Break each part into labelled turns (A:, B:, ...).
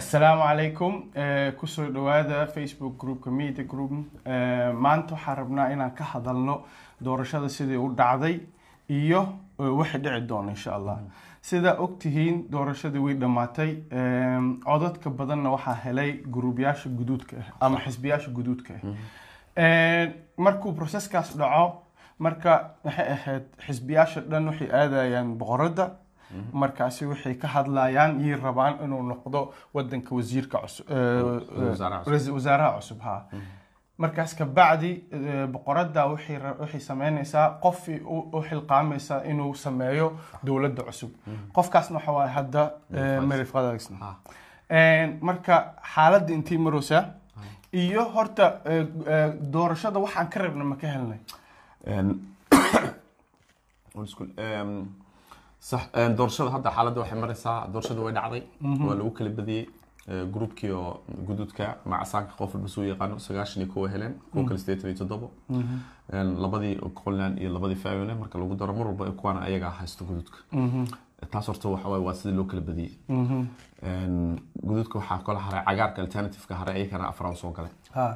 A: asalaamu calaykum Eh, kusoo dhawaada facebook groupka media group Eh, maanta waxaan rabnaa inaan ka hadalno doorashada sidii u dhacday iyo eh, wixii dhici doona insha allah sidaa ogtihiin doorashadii way dhammaatay Eh, codadka badanna waxaa helay guruubyaasha guduudka ah ama xisbiyaasha guduudka ah Een, markuu proseskaas dhaco marka waxay ahayd xisbiyaasha dhan waxay aadayaan boqoradda
B: Mhm.
A: markaasi waxay ka hadlayaan iyo rabaan inuu noqdo wadanka wasiirka cusub eh,
B: wasaaraha cusub. Mhm.
A: rais- wasaaraha cusub ha markaas kabacdi eh, boqoradda waxay ra- waxay sameynaysaa qof u u xilqaamaysaa inuu sameeyo dowladda cusub
B: Mhm.
A: qofkaasna waxaa waaye hadda mary fadalisna Een, marka xaaladda intii maraysaa iyo horta eh, eh, doorashada waxaan ka rabna ma ka helnay
B: School. Ehm, sax ehm, doorashada hadda xaaladda waxay maraysaa doorashada way dhacday waa lagu kala badiyey eh, gruubkii oo guduudka macasaanka qof walba suu yaqaano sagaashan iyo kuwa heleen kuwa kale sideetan iyo toddoba Een, labadii Scotland iyo labadii Fayoone marka lagu daro mar walba kuwana ayagaa haysto guduudka
A: Mhm,
B: taas horta waxa waaye waa sidii loo kala badiyey Een, guduudka waxaa kala haray cagaarka alternative-ka haray ayagana afraa u soo galay
A: ha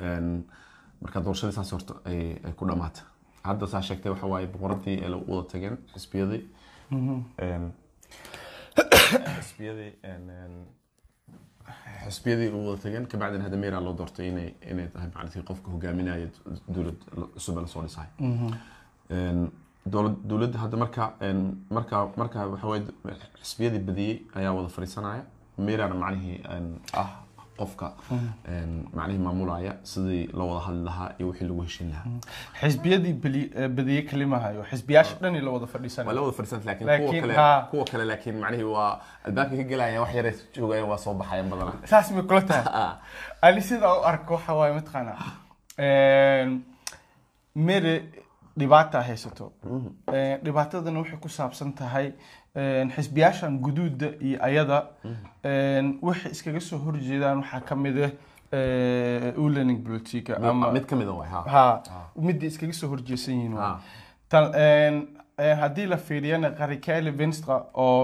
B: Een, marka doorashadii saas horta ay ay ku dhamaatay hadda saa sheegtay waxa waaye boqoradii ee lagu wada tageen xisbiyadii Een, xisbiyadii een, een, xisbiyadii u wada tageen kabacdina hadda meeraa loo doortay inay inay tahay macnatii qofka hogaaminaya dowlad cusub ee lasoo dhisay Een, dowlad- dowladda hadda marka een, marka marka waxa waaye xisbiyadii badiyey ayaa wada fadhiisanaya meeraana macnihii een, ah qofka een, macnihii maamulaya sidii loo wada hadli lahaa iyo wixii lagu heshin lahaa
A: xisbiyadii beli- eh, badiyey kalimahayo xisbiyaasha dhan la wada fadhiisanay
B: waa la wada fadhiisanta laakiin kuwa
A: Laakiin,
B: kale
A: haa.
B: kuwa kale laakiin macnihii waa albaabka ka gelaya wax yaray joogayaan waa soo baxayaan badanaa
A: saas ma kula tahay
B: Ah,
A: ali sidaa u arko waxa waaye mataqaana een, mere dhibaata Ehm, haysato Een, dhibaatadana waxay ku saabsan tahay een, xisbiyaashan guduudda iyo ayada een, waxay iskaga soo horjeedaan waxaa ka mid ah eh, ulearning politika ama
B: mid ka mid a waay haa
A: ha midday iskaga soo horjeesan yihiin waay.
B: Ah.
A: Tan- een, een, haddii la fiiriyana qarikeli vinstra oo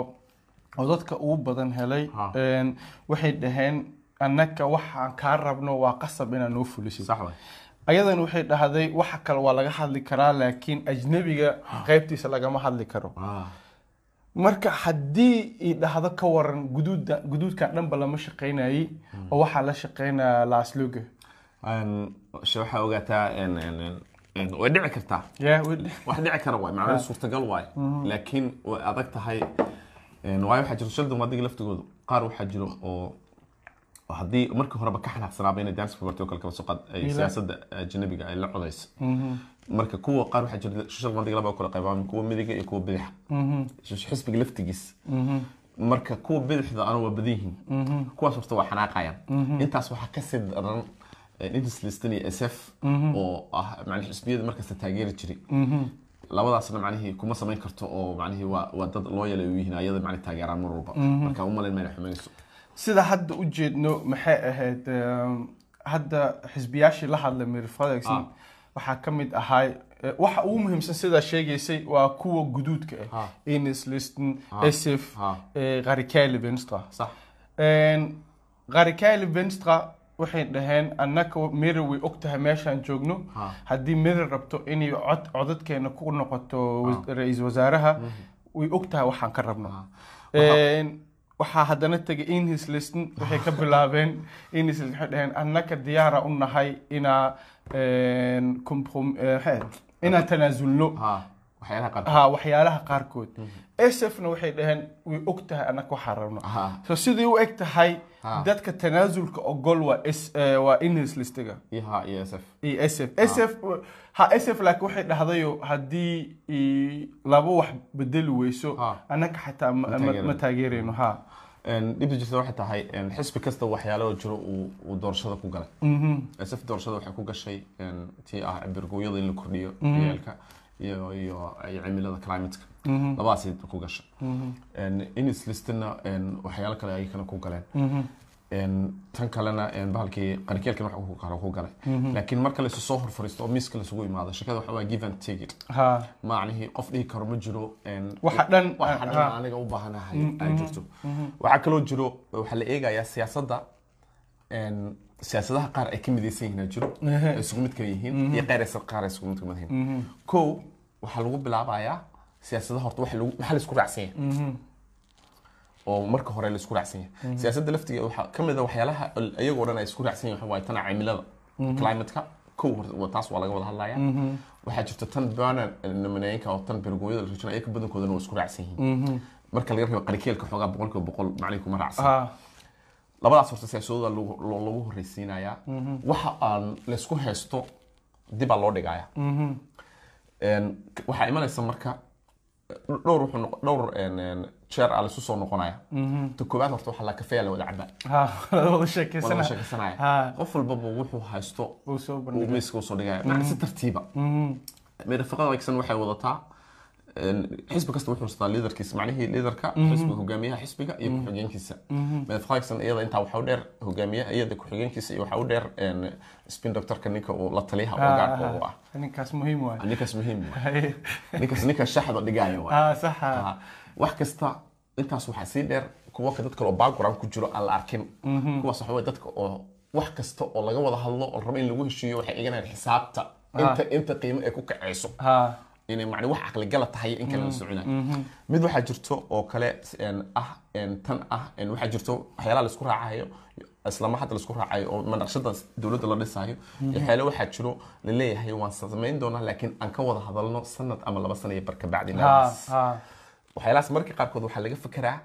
A: oo dadka ugu badan helay
B: Ha.
A: een, waxay dhaheen annaga waxaan kaa rabno waa qasab inaa noo fulisid
B: sax waay
A: ayadana waxay dhahday waxa kale waa laga hadli karaa laakiin ajnabiga qaybtiisa lagama hadli karo
B: Ah,
A: marka haddii i dhahdo ka waran guduudda guduudkan dhanba lama shaqaynayay oo waxaa la shaqaynaya laasluga
B: een, she waxaa ogaataa een, een, een, een, way dhici kartaa
A: yeah, we-
B: wax dhici kara waay macnaha suurtagal waay laakiin way adag tahay een, waayo waxaa jiro shaldan waadiga laftigoodu qaar waxaa jiro oo oo haddii markii horeba ka xanaaqsanaaba inay daanis kubartay oo kale kala soo qaad ay siyaasadda ajnabiga ay la codaysa
A: Mm-hmm.
B: marka kuwa qaar waxaa jira shal waadiga laba oo kala qaybaan kuwa midiga iyo kuwa bidix
A: Mm-hmm.
B: xisbiga laftigiis marka kuwa bidixda ana waa badan yihiin kuwaas horta waa xanaaqayaan intaas waxaa kasii daran intslisten iyo sf oo ah macnaha xisbiyada markasta taageeri jiray
A: Mm-hmm.
B: labadaasna macnihii kuma samayn karto oo macnihii waa waa dad loo yelay u yihiin ayada macnihii taageeraan mar walba marka umalayn mayna xumaynayso
A: sida hadda u jeedno maxay ahayd um, hadda xisbiyaashii la hadlay mir
B: Ah.
A: fredrickson waxaa ka mid ahaa waxa ugu muhiimsan sidaa sheegaysay waa kuwa guduudka ah
B: Ah.
A: ines liston
B: Ah.
A: sf
B: Ah.
A: qarikali venstra
B: sax
A: qarikali venstra waxay dhaheen annaka miri way ogtahay meeshaan joogno
B: Ah.
A: haddii miri rabto inay cod codadkeena ku noqoto was- ra-iisul wasaaraha way ogtahay waxaan ka rabno Een, waxaa haddana tegay inhis listan waxay ka bilaabeen inhis Liston waxay dhaheen annaka diyaara u nahay inaa een, comprom- eh, maxay ahayd? inaan tanaasulno
B: ha waxyaalaha qaar
A: ha waxyaalaha qaarkood sfna waxay dhaheen way og tahay annaka waxaan rabno
B: ha
A: so sidii u eg tahay
B: Ha.
A: dadka tanaasulka ogol waa S- eh, waa inhis listiga
B: iyo ha iyo sf
A: iyo sf sf ha sf laakiin waxay dhahdayo haddii i- laba wax bedeli weyso
B: Ha.
A: annaka xataa ma- ma
B: taageerayno.
A: ma taageerayno ha
B: Een, dhibta jirta waxay tahay een, xisbi kasta waxyaalo jiro uu uu doorashada ku galay
A: Mhm,
B: sf doorashada waxay ku gashay een, tii ah cabirgooyada in la kordhiyo yeelka iyo iyo iyo cimilada climateka
A: mhm, mhm,
B: labadaasay ku gashay Een, inis listana een, waxyaalo kale ay kana ku galeen een, tan kalena een, bahalkii qarikeelkan wax uu ku galay
A: mhm,
B: laakiin marka la isu soo horfariisto oo miiska la isugu yimaado shakada waxa waa give and take it
A: haa
B: macnihii qof dhihi karo ma jiro een,
A: Waxa dhan- Mhm,
B: waxa
A: ah,
B: dhan
A: ah.
B: aniga u baahanahay ay jirto waxaa kaloo jiro waxaa la eegayaa siyaasadda een, siyaasadaha qaar ay ka midaysan yihiin aa jiro ay isugu mid ka yihiin iyo qaar aysan qaar ay isugu mid ka mid yihiin kow waxaa lagu bilaabayaa siyaasadaha horta waxa lagu- maxaa la isku raacsan yahay
A: mhm,
B: oo marka hore la isku raacsan yahay siyaasadda laftigeeda waxaa ka mid a waxyaalaha al- iyagoo dhan ay isku raacsan yihin waxa waaye tana cimilada climateka kow horta waa- taas waa laga wada hadlaya waxaa jirta tan burner namanayinka oo tan bergooyada la rajinaya ka badankoodana waa isku raacsan yihiin marka laga reebo qarikeelka xoogaa boqolkiiba boqol macnay kuma raacsan
A: haa
B: labadaas horta siyaasadooda lagu lo- lagu horreysiinaya waxa aan laysku haysto dibaa loo dhigaya Een, k- waxaa imanaysa marka dh- dhowr wuxuu noq- dhowr een, een, jeer aa laisu soo noqonaya ta koowaad horta waxaa la kafeya la wada caba
A: haa wada
B: waa laga
A: sheekaysanaa
B: sheekaysanaya
A: Haa.
B: qof walbaba wuxuu haysto
A: uu soo
B: uu
A: bandhigay
B: miiska usoo dhigaya macna si tartiiba mirafaqada wagsan waxay wadataa een, xisbi kasta wuxuu haystaa liidarkiisa macnihii liidarka xisbiga hogaamiyaha xisbiga iyo ku-xigeenkiisa
A: Mhm.
B: mirafaqada wagsan iyada intaa waxaa u dheer hogaamiyaha iyada ku-xigeenkiisa iyo waxaa u dheer een, spin doctorka ninka uu la taliyaha oo gaarka u ah
A: ninkaas muhiim waaye
B: ninkaas muhiim waay.
A: Haye.
B: ninkaas ninka shaxda dhigaya waay.
A: haa saxa
B: Ah, wax kasta intaas waxaa sii dheer kuwa ka dad kale oo background ku jiro aan la arkin kuwaas waxa weye dadka oo wax kasta oo laga wada hadlo oo la rabo in lagu heshiiyo waxay eeganayaan xisaabta inta inta qiimo ay ku kacayso
A: haa
B: inay macni wax caqligala tahay in
A: Mhm,
B: kale la soconayo mid waxaa jirto oo kale een, ah een, tan ah een, waxaa jirto waxyaalaha laisku raacayo islaama hadda laisku raacayo oo manaqshada dowladda la dhisayo waxyaale waxaa jiro laleeyahay waan samayn doonaa laakiin aan ka wada hadalno sanad ama laba sana iyo barka bacdi
A: haa
B: naas
A: haa
B: waxyaalahaas marka qaarkood waxaa laga fekeraa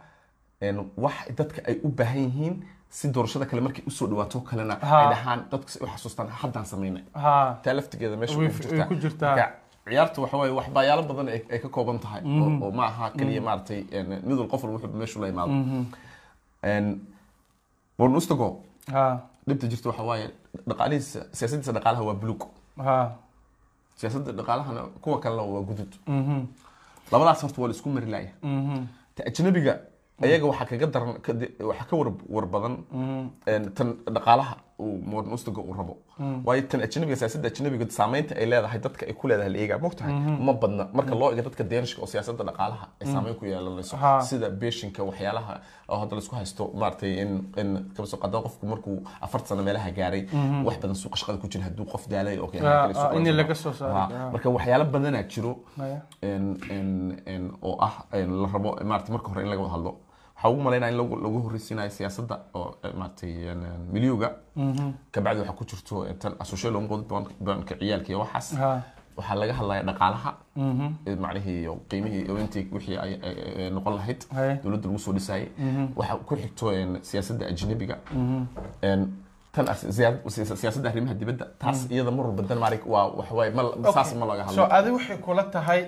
B: een, wax dadka ay u baahan yihiin si doorashada kale markay usoo dhawaato kalena ay
A: Haa.
B: dhahaan dadka si u xasuustaan haddaan samaynay
A: haa
B: taa laftigeeda meesha
A: Way-
B: way
A: way ku jirtaa.
B: Marka, ciyaartu waxa waaye waxbaayaalo badan ay ay ka kooban tahay oo- oo ma aha keliya maaragtay een, mid wal qof wal wuxuu meeshu la imaado
A: Mm-hmm.
B: Een, Born Ostago
A: haa
B: dhibta jirta waxa waaye dhaqaalihiisa siyaasadiisa dhaqaalaha waa buluug
A: haa
B: siyaasadda dhaqaalahana kuwa kalena waa guduud
A: Mm-hmm.
B: labadaas horta waa la isku mari laaya ta ajnabiga ayaga waxaa kaga daran ka di- waxaa ka war war badan
A: Mm-hmm.
B: een, tan dhaqaalaha uu modern ustiga uu rabo waayo tan ajnabiga siyaasadda ajnabiga saameynta ay leedahay dadka ay ku leedahay la eegaa mogtahay ma badna marka loo eego dadka deenishka oo siyaasadda dhaqaalaha ay saameyn ku yeelanayso
A: Haa.
B: sida beeshinka waxyaalaha oo hadda laisku haysto maaragtay in in kabasoo qadaa qofku markuu afar sano meelaha gaaray wax badan suuqa shaqada ku jira hadduu qof daalay oo
A: Ah,
B: kale
A: ah, in laga soo saaro.
B: Ah,
A: Ah.
B: marka waxyaalo badanaa jiro
A: Maya.
B: een- een- een oo ah een la rabo maarata marka hore in laga wada hadlo waxaa ugu malaynaya in lagu lagu horreysiinayo siyaasadda oo eh, maaragtay een, een, milyuga kabacdi waxaa ku jirto eh, tan associate loan qod banka ciyaalka iyo waxaas
A: haa
B: waxaa laga hadlaya dhaqaalaha eh, macnihii iyo qiimihii iyo intii wixii ay ay- ay noqon lahayd
A: Haye.
B: dowladda lagu soo dhisaayay waxaa ku xigto een, siyaasadda ajnabiga Een, tan as- siya- siya- siyaasadda arrimaha dibadda taas iyada mar walba danmarig waa waxawaaye ma saas ma laga
A: so
B: hadlo
A: adi waxay kula tahay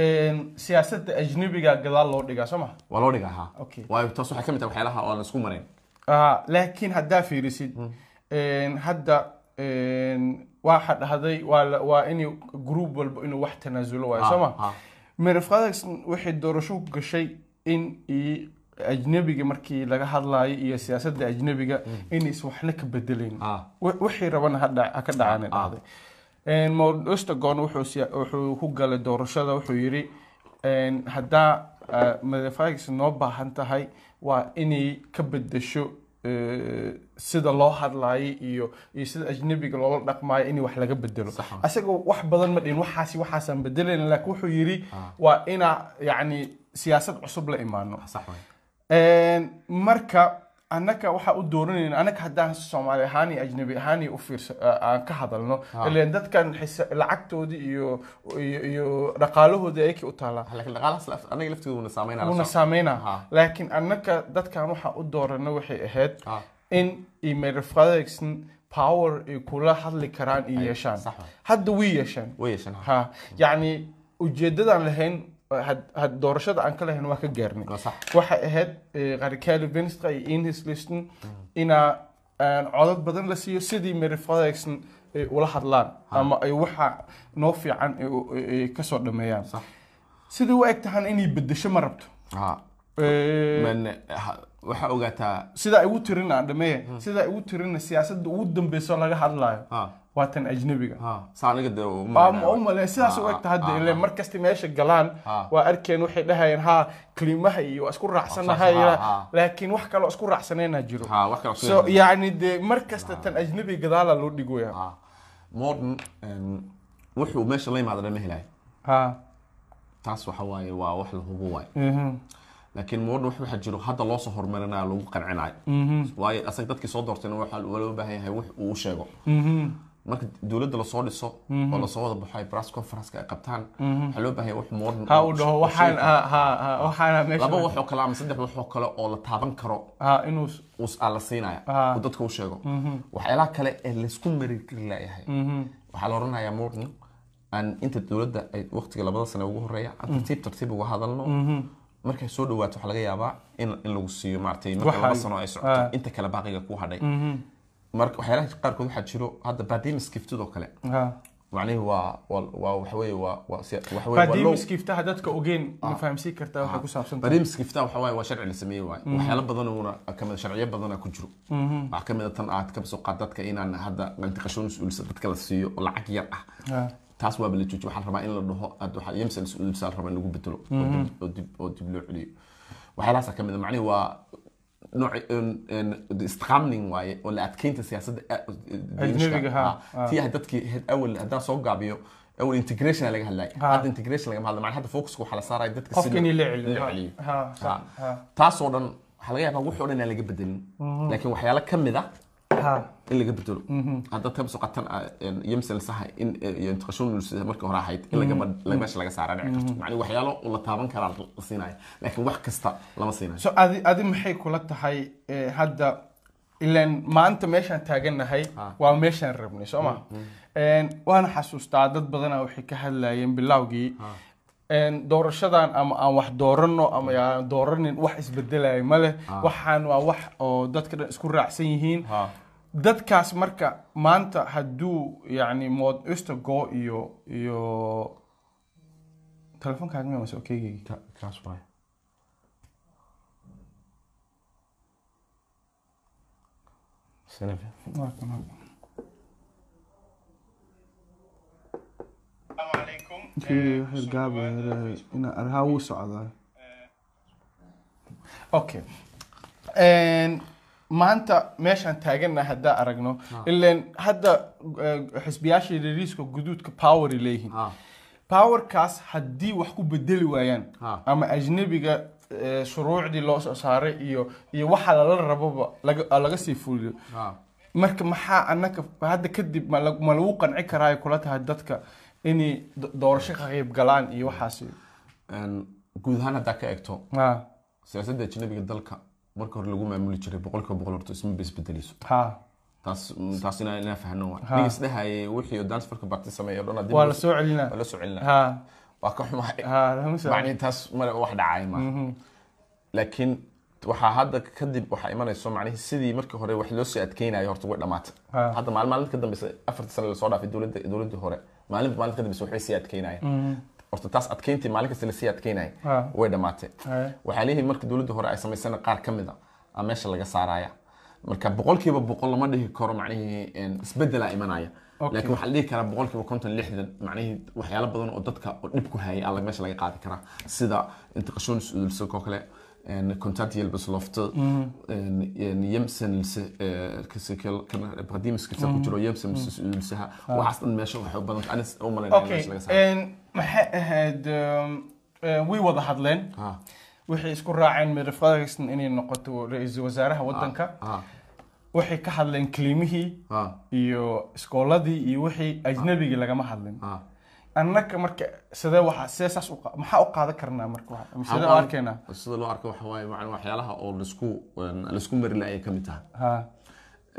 A: een, siyaasadda ajnabiga gadaal loo dhigaa soo ma
B: waa loo dhigahaa
A: Okay.
B: waayo taas waxaa ka mid ah waxyaalaha oo aan isku marayn
A: Ah, laakiin haddaa fiirisid
B: Hmm.
A: een, hadda een, waxa dhahday waa la- waa in group walba inuu wax tanaasulo waayo soo ma
B: Ah, ah.
A: mirafadagson waxay doorasho ku gashay in i- ajnabiga markii laga hadlaayo iyo siyaasadda ajnabiga inays waxna ka bedelayn
B: Ah.
A: Wi- wixii rabana ha dhac- ha ka dhacaana
B: Ah.
A: dhacday Een, Mount Ostagon wuxuu siya- wuxuu ku galay doorashada wuxuu yidhi een, haddaa ah, madafaagis noo baahan tahay waa inay ka bedesho eh, sida loo hadlaayay iyo iyo sida ajnabiga loola dhaqmaayo in wax laga bedelo
B: Sax ah.
A: asagoo wax badan ma dhihin waxaasi waxaasaan bedelayna laakiin wuxuu yidhi waa inaa yacni siyaasad cusub la imaano
B: sax waay
A: Een, marka annaka waxaa u dooranayna annaka haddaan soomaali ahaan iyo ajnabi ahaan iyo u fiirsa a- aan ka hadalno ileen dadkan xisa- lacagtoodii iyo iyo iyo dhaqaalahoodii ayakii u taalaa
B: laakiin dhaqaalahaas laf- anaga lafteedu wuna saameynaa
A: una
B: lasoo-
A: saameynaa
B: Ha.
A: laakiin annaka dadkan waxaa u doorano waxay ahayd
B: Ha.
A: in imerfadegson power ay kula hadli karaan iyo yeeshaan
B: sax waay.
A: hadda way yeeshaan
B: way yeeshaan ha.
A: ha yacni ujeeddadaan lahayn had- had doorashada aan ka lahayn waa ka gaarnay
B: Waa sax
A: waxay ahayd eh, qarikaali venstre iyo inhislisten
B: Mm.
A: inaa aan eh, codad badan la siiyo sidii mary fredrickson ay ula hadlaan ama ay waxa noo fiican ay u- eh, ay- ay kasoo dhameeyaan
B: Sax.
A: sidii u eg tahan inay bedesho ma rabto
B: Ha.
A: Eh,
B: Man, ha- waxaa ogaataa
A: sidaa igu tirin aan dhameeye
B: Hmm.
A: sidaa igu tirinna siyaasadda ugu dambeysoo laga hadlayo
B: ha
A: waa tan ajnebiga
B: ha saa aniga dee
A: ma u male sidaas u
B: Ah,
A: egta
B: ah,
A: hadda
B: ah,
A: ile
B: ah.
A: markasta meesha galaan
B: Ah.
A: waa arkeen waxay dhahayeen haa kliimaha iyo waa isku raacsanahay
B: Ah, ah, ah.
A: laakiin wax kaloo isku raacsanaynaa jiro
B: ha wax kale
A: so yacni dee mar kasta tan ajnebi gadaala loo dhigoya
B: ha modern em, wuxuu meesha la yimaada dhan ma helayo
A: ha
B: taas waxa waaye waa wax la hubo waaye
A: mhm,
B: laakiin modern wax waxa jiro hadda loosoo horumarinayo lagu qancinayo
A: mhm,
B: waayo asaga dadkii soo doortayna waxaa loo baahan yahay wax uu u sheego
A: mhm,
B: marka dowladda lasoo dhiso oo lasoo wada baxo ay brass conference ay qabtaan waxaa loo baahan yahay wax modern
A: Mhm. ha
B: oo
A: uu
B: u-
A: dhaho
B: u
A: waxaan
B: sheegi
A: ha ha ha, waxaana
B: karo. laba
A: meesha
B: wax oo kale ama saddex wax oo kale oo la taaban karo
A: ha inuu s-
B: us- aa la siinaya
A: Ah.
B: oo dadka u sheego waxyaalaha kale ee laysku marirgari layahay
A: mhm,
B: waxaa la oranayaa morning aan inta dowladda ay waqtiga labada sane ugu horeeya
A: Mhm.
B: aan tartiib tartiib uga hadalno markay soo dhawaato waxaa laga yaabaa in in lagu siiyo maaragtay marka
A: Waxa-
B: laba sano ay
A: ah.
B: socoto inta kale baaqiga ku hadhay
A: mhm,
B: marka waxyaalaha qaarkood waxaa jiro hadda badimis giftidoo kale
A: ha
B: macnihii waa waa waa waxa weeye waa waa si- waxa weeye waa
A: baadii
B: low
A: miskiiftaha dadka ogeyn ma fahamsiin kartaa waxay ku saabsan tahay
B: barnaamijka iftaa waxa waaye waa sharci la sameeyey waaye waxyaalo badan uuna kamid sharciyo badana ku jiro waxaa kamid a tan aad ka soo qaad dadka inaan hadda mantiqasho mas-uulisa dadka la siiyo oo lacag yar ah
A: Ha,
B: taas waaba la joojiyo waxaa la rabaa in la dhaho aad waxaa yemsa mas-uulisa la rabaa in lagu bedelo oo
A: Mm-hmm.
B: dib- oo dib- oo dib loo celiyo waxyaalahaasa kamid a macnihi ah, waa nooc een- een- istiqaamning waaye oo la adkeynta siyaasadda eh, a- deynishka.
A: Ajnabiga, ha,
B: Ah, tii ah dadkii had- awal haddaa soo gaabiyo awal integration laga hadlaya
A: Ha.
B: hadda integration lagama hadla macnaha hadda focuska waxaa la saaraya dadka si
A: qofka in la celiyo
B: la
A: Ha,
B: celiyo
A: ha sax, ha
B: taasoo dhan waxaa laga yaabaa wuxoo dhan aan laga bedelin
A: Mm-hmm.
B: laakiin waxyaalo ka mid ah, a
A: ha
B: in laga bedelo hadda tan soo qatan yemsel saha in iyo intiqashoon ulsida markii hore ahayd in laga bad- la- meesha laga saara dhici karto macni waxyaalo la taaban karaa la siinaya laakiin wax kasta lama siinayo
A: so adi adi maxay kula tahay eh, hadda ilan maanta meeshaan taagannahay
B: Ah.
A: waa meeshaan rabnay soo ma Een, waana xasuustaa dad badanaa waxay ka hadlayeen bilaawgii Een, doorashadan ama aan wax dooranno ama aan dooranin wax isbedelaya ma leh waxaan waa wax oo dadka dhan isku raacsan yihiin
B: ha
A: dadkaas marka maanta hadduu yacni mod istago iyo iyo telefonkaaga miyaa mase okeygeygi
B: kaas waay
A: okay Een, maanta meeshaan taaganna haddaan aragno ileen hadda eh, xisbiyaasha yariiska guduudka power ay leeyihiin
B: ha
A: powerkaas haddii wax ku bedeli waayaan
B: ha
A: ama ajnabiga eh, shuruucdii loo soo saaray iyo iyo waxa lala raboba laga laga sii fuliyo
B: ha
A: marka maxaa anaka hadda kadib ma lag- ma lagu qanci karaay kula tahay dadka inay do- doorasho ka qayb galaan iyo waxaasi
B: Een, guud ahaan haddaa ka eegto
A: ha
B: siyaasadda ajnabiga dalka marka hore lagu maamuli jiray boqolkiiba boqol horta isma ba isbedeleyso
A: ha
B: taas mm, taas inaa inaa fahno waa
A: Ha.
B: nig isdhahayay wixii oo dance farka barti sameeyo o dhan haddii
A: waa
B: loo-
A: la soo celinaa
B: waa la soo celinaa
A: ha
B: waa ka xumahay
A: ha Mm-hmm. lama soo
B: macnihii taas male wax dhacay ma laakiin waxaa hadda kadib waxaa imanayso macnihii sidii markii hore wax loo sii adkeynayo horta way dhamaatay
A: Ha.
B: hadda maalin maalinta ka dambeysa afartii sano lasoo dhaafay dowladda dowladdii hore maalinba maalinta ka dambeysa waxay sii adkeynayeen horta taas adkeyntii maalin kasta lasii adkeynaya
A: Mm-hmm. Ha.
B: way dhamaatay
A: Ha.
B: waxaa leeyihiin marka dowladda hore ay samaysana qaar ka mid a aa meesha laga saaraya marka boqolkiiba boqol lama dhihi karo macnihii een, isbedelaa imanaya
A: Okay.
B: laakiin waxaa la dhihi karaa boqolkiiba konton lixdan macnihii waxyaalo badan oo dadka oo dhib ku hayay aa meesha laga qaadi karaa sida intiqashoon is-uudulsakoo kale kontact yelbas lofta yemsenlse qadiimiskisa ku jiro yemsenlse is-uudulsaha waxaas dhan meesha waxay u badan anis u malayna
A: okay
B: meesha laga saaro
A: een, maxay ahayd um, eh, way wada hadleen
B: Ha,
A: waxay isku raaceen mary fredrickson inay noqoto ra-iisul wasaaraha waddanka
B: ha,
A: waxay ka hadleen keliimihii
B: ha,
A: iyo iskooladii iyo wixii ajnabigii lagama hadlin
B: ha.
A: annaka marka sidee waxaa sidee saas u qa- maxaa u qaadan karnaa marka waxa- ama sidee u
B: Waxaa
A: arkaynaa
B: sida loo arko waxa waaye macnaha waxyaalaha oo laisku laisku mari la ayay ka mid tahay
A: Ha.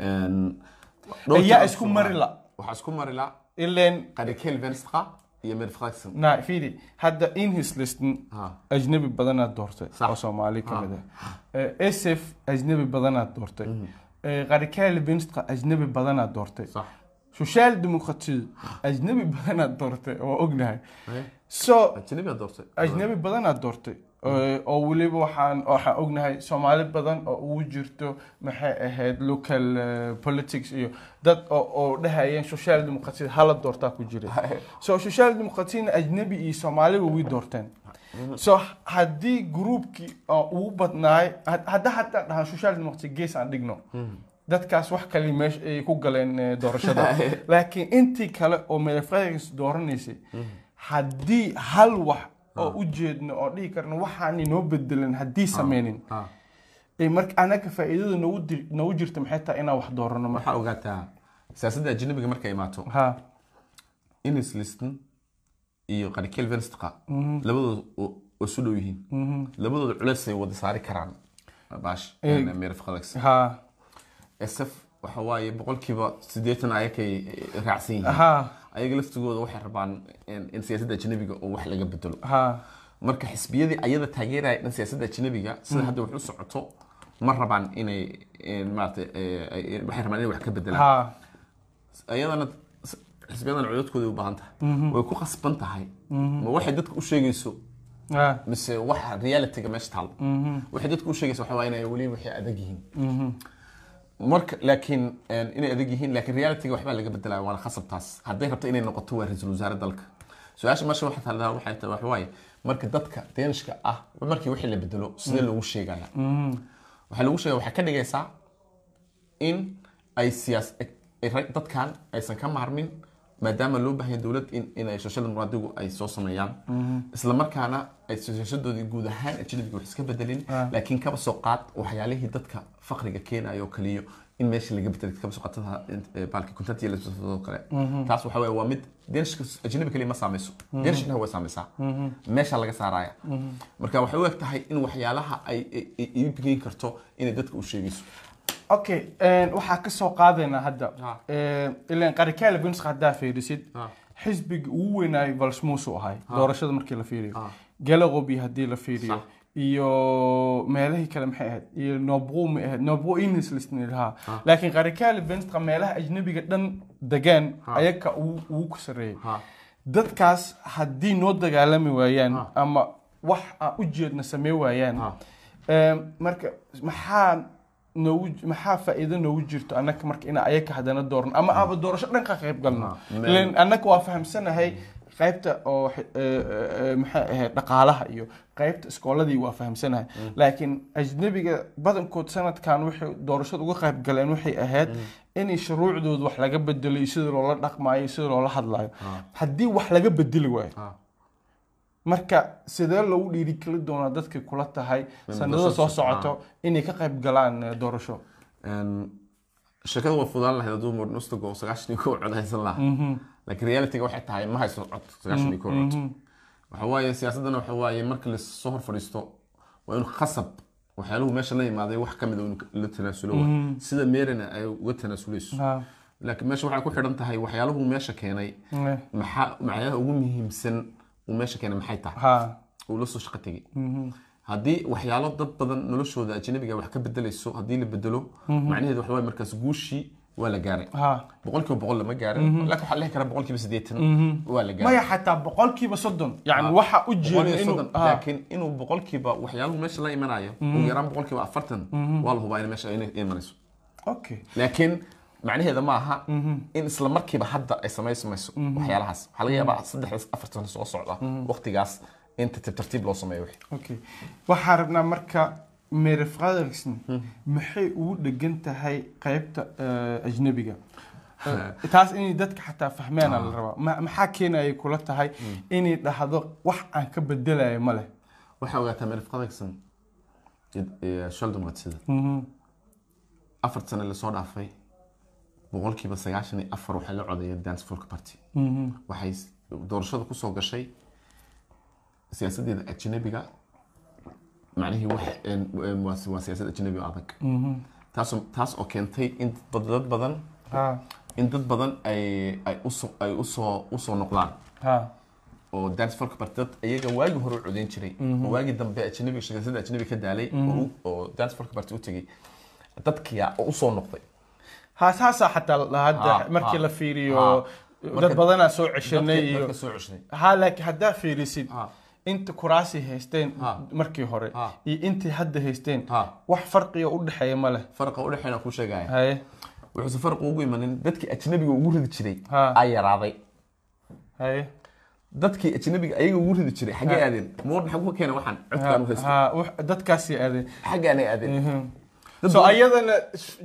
B: Een,
A: ayaa isku mari la
B: waxaa isku mari la
A: ileen
B: qarikel venstra iyo mary fraxon
A: na fiidi hadda in his listan
B: ha
A: ajnabi badanaad doortay
B: Sax.
A: oo soomaali ka mid ah sf ajnabi badanaad doortay qarikaal binstka ajnabi badanaad doortay
B: sax
A: social democratiya ajnabi badanaad doortay waa ognahay
B: Eh,
A: so
B: ajnabi aad doortay
A: ajnabi badanaad doortay oo weliba waxaan waxaan ognahay soomaali badan oo ugu jirto maxay ahayd local eh, politics iyo dad oo oo dhahayeen social democracy hala doortaa ku jira so social democracyna ajnabi iyo soomaaliba way doorteen so haddii gruupkii oo ugu badnaay had- hadda hataa dhahan social democracy gees aan dhigno dadkaas wax kale meesha ay ku galeen eh, doorashada laakiin intii kale oo madafaris dooranaysay haddii hal wax oo u jeedno oo dhihi karno waxaan inoo bedelan haddii sameynin
B: Ah.
A: ee marka anaga faa'iidada noogu dir- noogu jirta maxay tahay inaan wax doorano marka
B: waxaa ogaataa siyaasadda ajnabiga markay imaato
A: ha
B: inis liston iyo qarikeel venstqa
A: Mhm.
B: labadooda oo- oo su dhow yihiin labadooda culeysay wada saari karaan baash meer faqadags
A: ha
B: sf waxa waaye boqolkiiba sideetan ayakay eh, raacsan yihiin
A: ha
B: ayaga laftigooda waxay rabaan in in siyaasadda ajnabiga oo wax laga bedelo
A: ha
B: marka xisbiyadii ayada taageeraya dhan siyaasadda ajnabiga sida hadda wax u socoto ma rabaan inay in maaragtay eh, ay- waxay rabaan inay wax ka bedelaan
A: ha
B: ayadana s- xisbiyadan codadkooda u baahan tahay way ku qasban tahay ma waxay dadka u sheegayso
A: ha
B: mise waxa reality-ga meesha taalo waxay dadka u sheegaysa waxaa waaye inay weli waxay adag yihiin marka laakiin een, inay adag yihiin laakiin reality-ga waxbaa laga bedelaya waana khasabtaas hadday rabto inay noqoto waa ra-iisul wasaare dalka su-aasha meesha waxa talada waxay tahay waxa waaye marka dadka deenishka ah markii wixii la bedelo sidee loogu sheegaya waxaa lagu sheegaya waxaa ka dhigaysaa in ay siyaas ay rag- dadkan aysan ka maarmin maadaama loo baahan yahay dowlad in inay shashada muraadigu ay soo sameeyaan isla markaana ay shashadoodii guud ahaan ajnabiga wax iska bedelin laakiin kaba soo qaad waxyaalihii dadka faqriga keenayo oo kaliyo in meesha laga bedelay kaba soo qaatada baalki kuntantiya la soo kale taas waxa waye waa mid deershka ajnabi kaliya ma saamayso deershkana way saamaysaa meesha laga saaraya marka waxay u eg tahay in waxyaalaha ay ay- ay iibgeyn karto inay dadka u sheegayso
A: okay een, waxaa ka soo qaadaynaa hadda
B: Ha.
A: Een, ileen qarikaala binsqa haddaa fiirisid xisbiga ugu weynaayo valsmuusu ahay doorashada markii la fiiriyo
B: Ha.
A: galaqobi haddii la fiiriyo
B: Sax.
A: iyo meelahii kale maxay ahayd iyo nobqumi ahayd nobqo inis lisnilhaa laakiin qarikaala binsqa meelaha ajnabiga dhan degaan ayaga ugu ugu ku sarreeyay
B: Ha.
A: dadkaas haddii noo dagaalami waayaan
B: Ha.
A: ama wax aan u jeedna samee waayaan
B: Ha.
A: Ehm, marka maxaa noogu maxaa faa'iido noogu jirto annaka marka inaan ayaga haddana doorno ama aaba doorasho dhan ka qayb galno
B: Ah, meel-
A: ilan annaka waa fahamsanahay qaybta oo eh, eh, eh, maxay ahayd dhaqaalaha iyo qaybta iskooladii waa fahamsanahay laakiin ajnabiga badankood sanadkan waxay doorashada uga qayb galeen waxay ahayd inay shuruucdooda wax laga bedelo iyo sida loola dhaqmaayo iyo sida loola hadlaayo haddii wax laga bedeli waayo marka sidee lagu dhiirigeli doonaa dadka kula tahay sanadada soo socoto inay ka qayb galaan eh, doorasho
B: Een, sheekadu waa fudaan lahayd hadduu Morgan Ostago oo sagaashan iyo kow cod haysan
A: Mhm.
B: lahaa laakiin reality-ga waxay tahay ma hayso cod sagaashan iyo kow cod waxa waaye siyaasaddana waxa waaye marka lasoo hor fadhiisto waa in khasab waxyaaluhu meesha la yimaaday wax ka mid uu la tanaasulo waay. sida meerina ay uga tanaasuleyso
A: Ha.
B: laakiin meesha waxay ku xidhan tahay waxyaaluhu meesha keenay
A: Eh,
B: maxaa maxyaalaha ugu muhiimsan uu meesha keenay maxay tahay
A: ha
B: uu la soo shaqo tegey haddii waxyaalo dad badan noloshooda ajnabiga wax ka bedelayso haddii la bedelo macnaheedu waxa waaye markaas guushii waa la gaaray
A: ha
B: boqolkiiba boqol lama gaarin laakiin waxaa la dhihi karaa boqolkiiba siddeetan waa la gaaray
A: maya xataa boqolkiiba soddon yani waxa u
B: boqol iyo
A: jeeda inuu
B: soddon.
A: ha.
B: laakiin inuu boqolkiiba waxyaaluhu meesha la imanayo ugu yaraan boqolkiiba afartan waa la hubaa in meesha ay imanayso
A: okay
B: laakiin macnaheeda ma aha in isla markiiba hadda ay samaysmayso waxyaalahaas waxaa laga yaabaa saddex afartan soo socda waqtigaas in tartiib tartiib loo sameeyo wixii
A: okay waxaan rabnaa marka mary fredrickson maxay ugu dhegan tahay qaybta eh, ajnabiga Eh, taas inay dadka xataa fahmeena la rabaa Ma- maxaa keenayay kula tahay inay dhahdo wax aan ka bedelayo ma leh
B: waxaa ogaataa melif qadagsan shal dumqadsida
A: Mhm.
B: afar sane lasoo dhaafay boqolkiiba sagaashan iyo afar waxay la codeeyeen dance folk party waxay s- doorashada kusoo gashay siyaasadeeda ajnabiga macnihii wax een, een, waa si- waa siyaasad ajnabi oo adag taasoo taas oo keentay in dad dad badan
A: ha
B: in dad badan ay ay usoo ay usoo usoo noqdaan
A: ha
B: oo dance folk party dad iyaga waagi hore u codeyn jiray oo waagi dambe ajnabiga shaqaysada ajnabi ka daalay oo u- oo dance folk party u tegay dadkiya oo usoo noqday
A: haa saasaa xataa la- hadda
B: Haa,
A: markii
B: haa,
A: la fiiriyo
B: haa.
A: dad
B: Marka-
A: badanaa soo ceshanay
B: dadka
A: iyo
B: dadka soo cushnay
A: haa laakiin haddaa fiirisid
B: Haa.
A: inta kuraasi haysteen
B: Ha.
A: markii hore
B: Ha.
A: iyo intii hadda haysteen
B: Ha.
A: wax farqiga u dhexeeya ma leh
B: farqa u dhexeynaa kuu sheegaya
A: haye
B: wuxuuse farqu ugu imanin dadkii ajnabiga ugu ridi jiray
A: Ha.
B: aa yaraaday
A: haye
B: dadkii ajnabiga ayaga ugu ridi jiray xaggee aadeen moor maxaa kuga keena waxaan codkaan u haysta
A: ha wax- dadkaasii aadeen
B: xaggaanay aadeen Dad
A: so
B: badan-
A: ayadana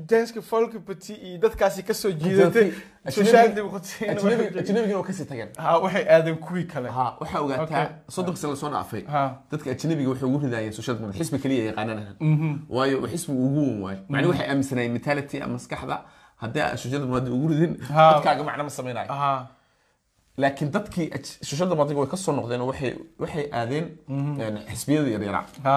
A: janska folkbati iyo dadkaasi kasoo jiidatay
B: Dadkii-
A: social
B: ajnabiga-
A: democracy-na
B: ajnabiga-
A: waxay-
B: ajnabigina waa kasii tageen
A: ha waxay aadeen kuwii kale
B: ha waxaa ogaataa
A: Okay.
B: soddon sano lasoo dhaafay
A: Ha.
B: dadka ajnabiga waxay ugu ridaayeen social media xisbi keliya yaqaananahan
A: Mhm.
B: waayo xisbigu ugu wan waayo macni waxay aaminsanaayeen mentality ama maskaxda haddii aa social media ugu ridin
A: Ha.
B: dadkaaga macno ma samaynayo
A: ha
B: laakiin dadkii aj- social media way kasoo noqdeen oo waxay waxay aadeen
A: Mhm.
B: een, xisbiyada yaryaraa
A: ha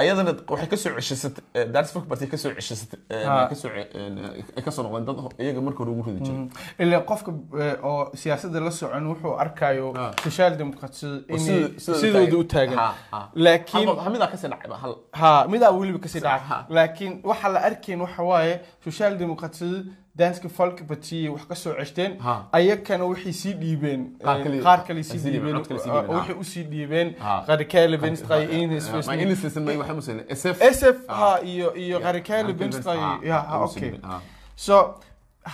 B: ayadana waxay kasoo ceshasatay dars folk party kasoo ceshasatay
A: Ha.
B: kasoo ce- een, ay kasoo noqdeen dad ho- iyaga marka hore ugu ridi jiray
A: ilaa Mm. qofka eh, oo siyaasadda la socon wuxuu arkayo
B: Ah.
A: social democracy
B: sidoo-
A: inay
B: sidoo
A: sidooda u
B: taagan.
A: taagan
B: Ha, ha.
A: laakiin
B: Hal- hamidaa kasii dhacay ba hal
A: ها مدا weliba kasii dhacay
B: Ha.
A: laakiin waxa la arkayn waxa waaye social democracy danska folk party wax ka soo ceshteen
B: Ha.
A: ayagana waxay sii dhiibeen
B: Qaar kale-
A: eh, qaar kale sii
B: sii dhiibeen,
A: dhiibeen
B: cod kale sii dhiibeen, Ah.
A: oo
B: ha.
A: waxay u sii dhiibeen
B: Ha.
A: qarikale benstay
B: Ma
A: in
B: English lesson ma waxaa musayna SF
A: sf
B: Ha.
A: ha iyo iyo qarikale benstay ya ha
B: Ah.
A: okay so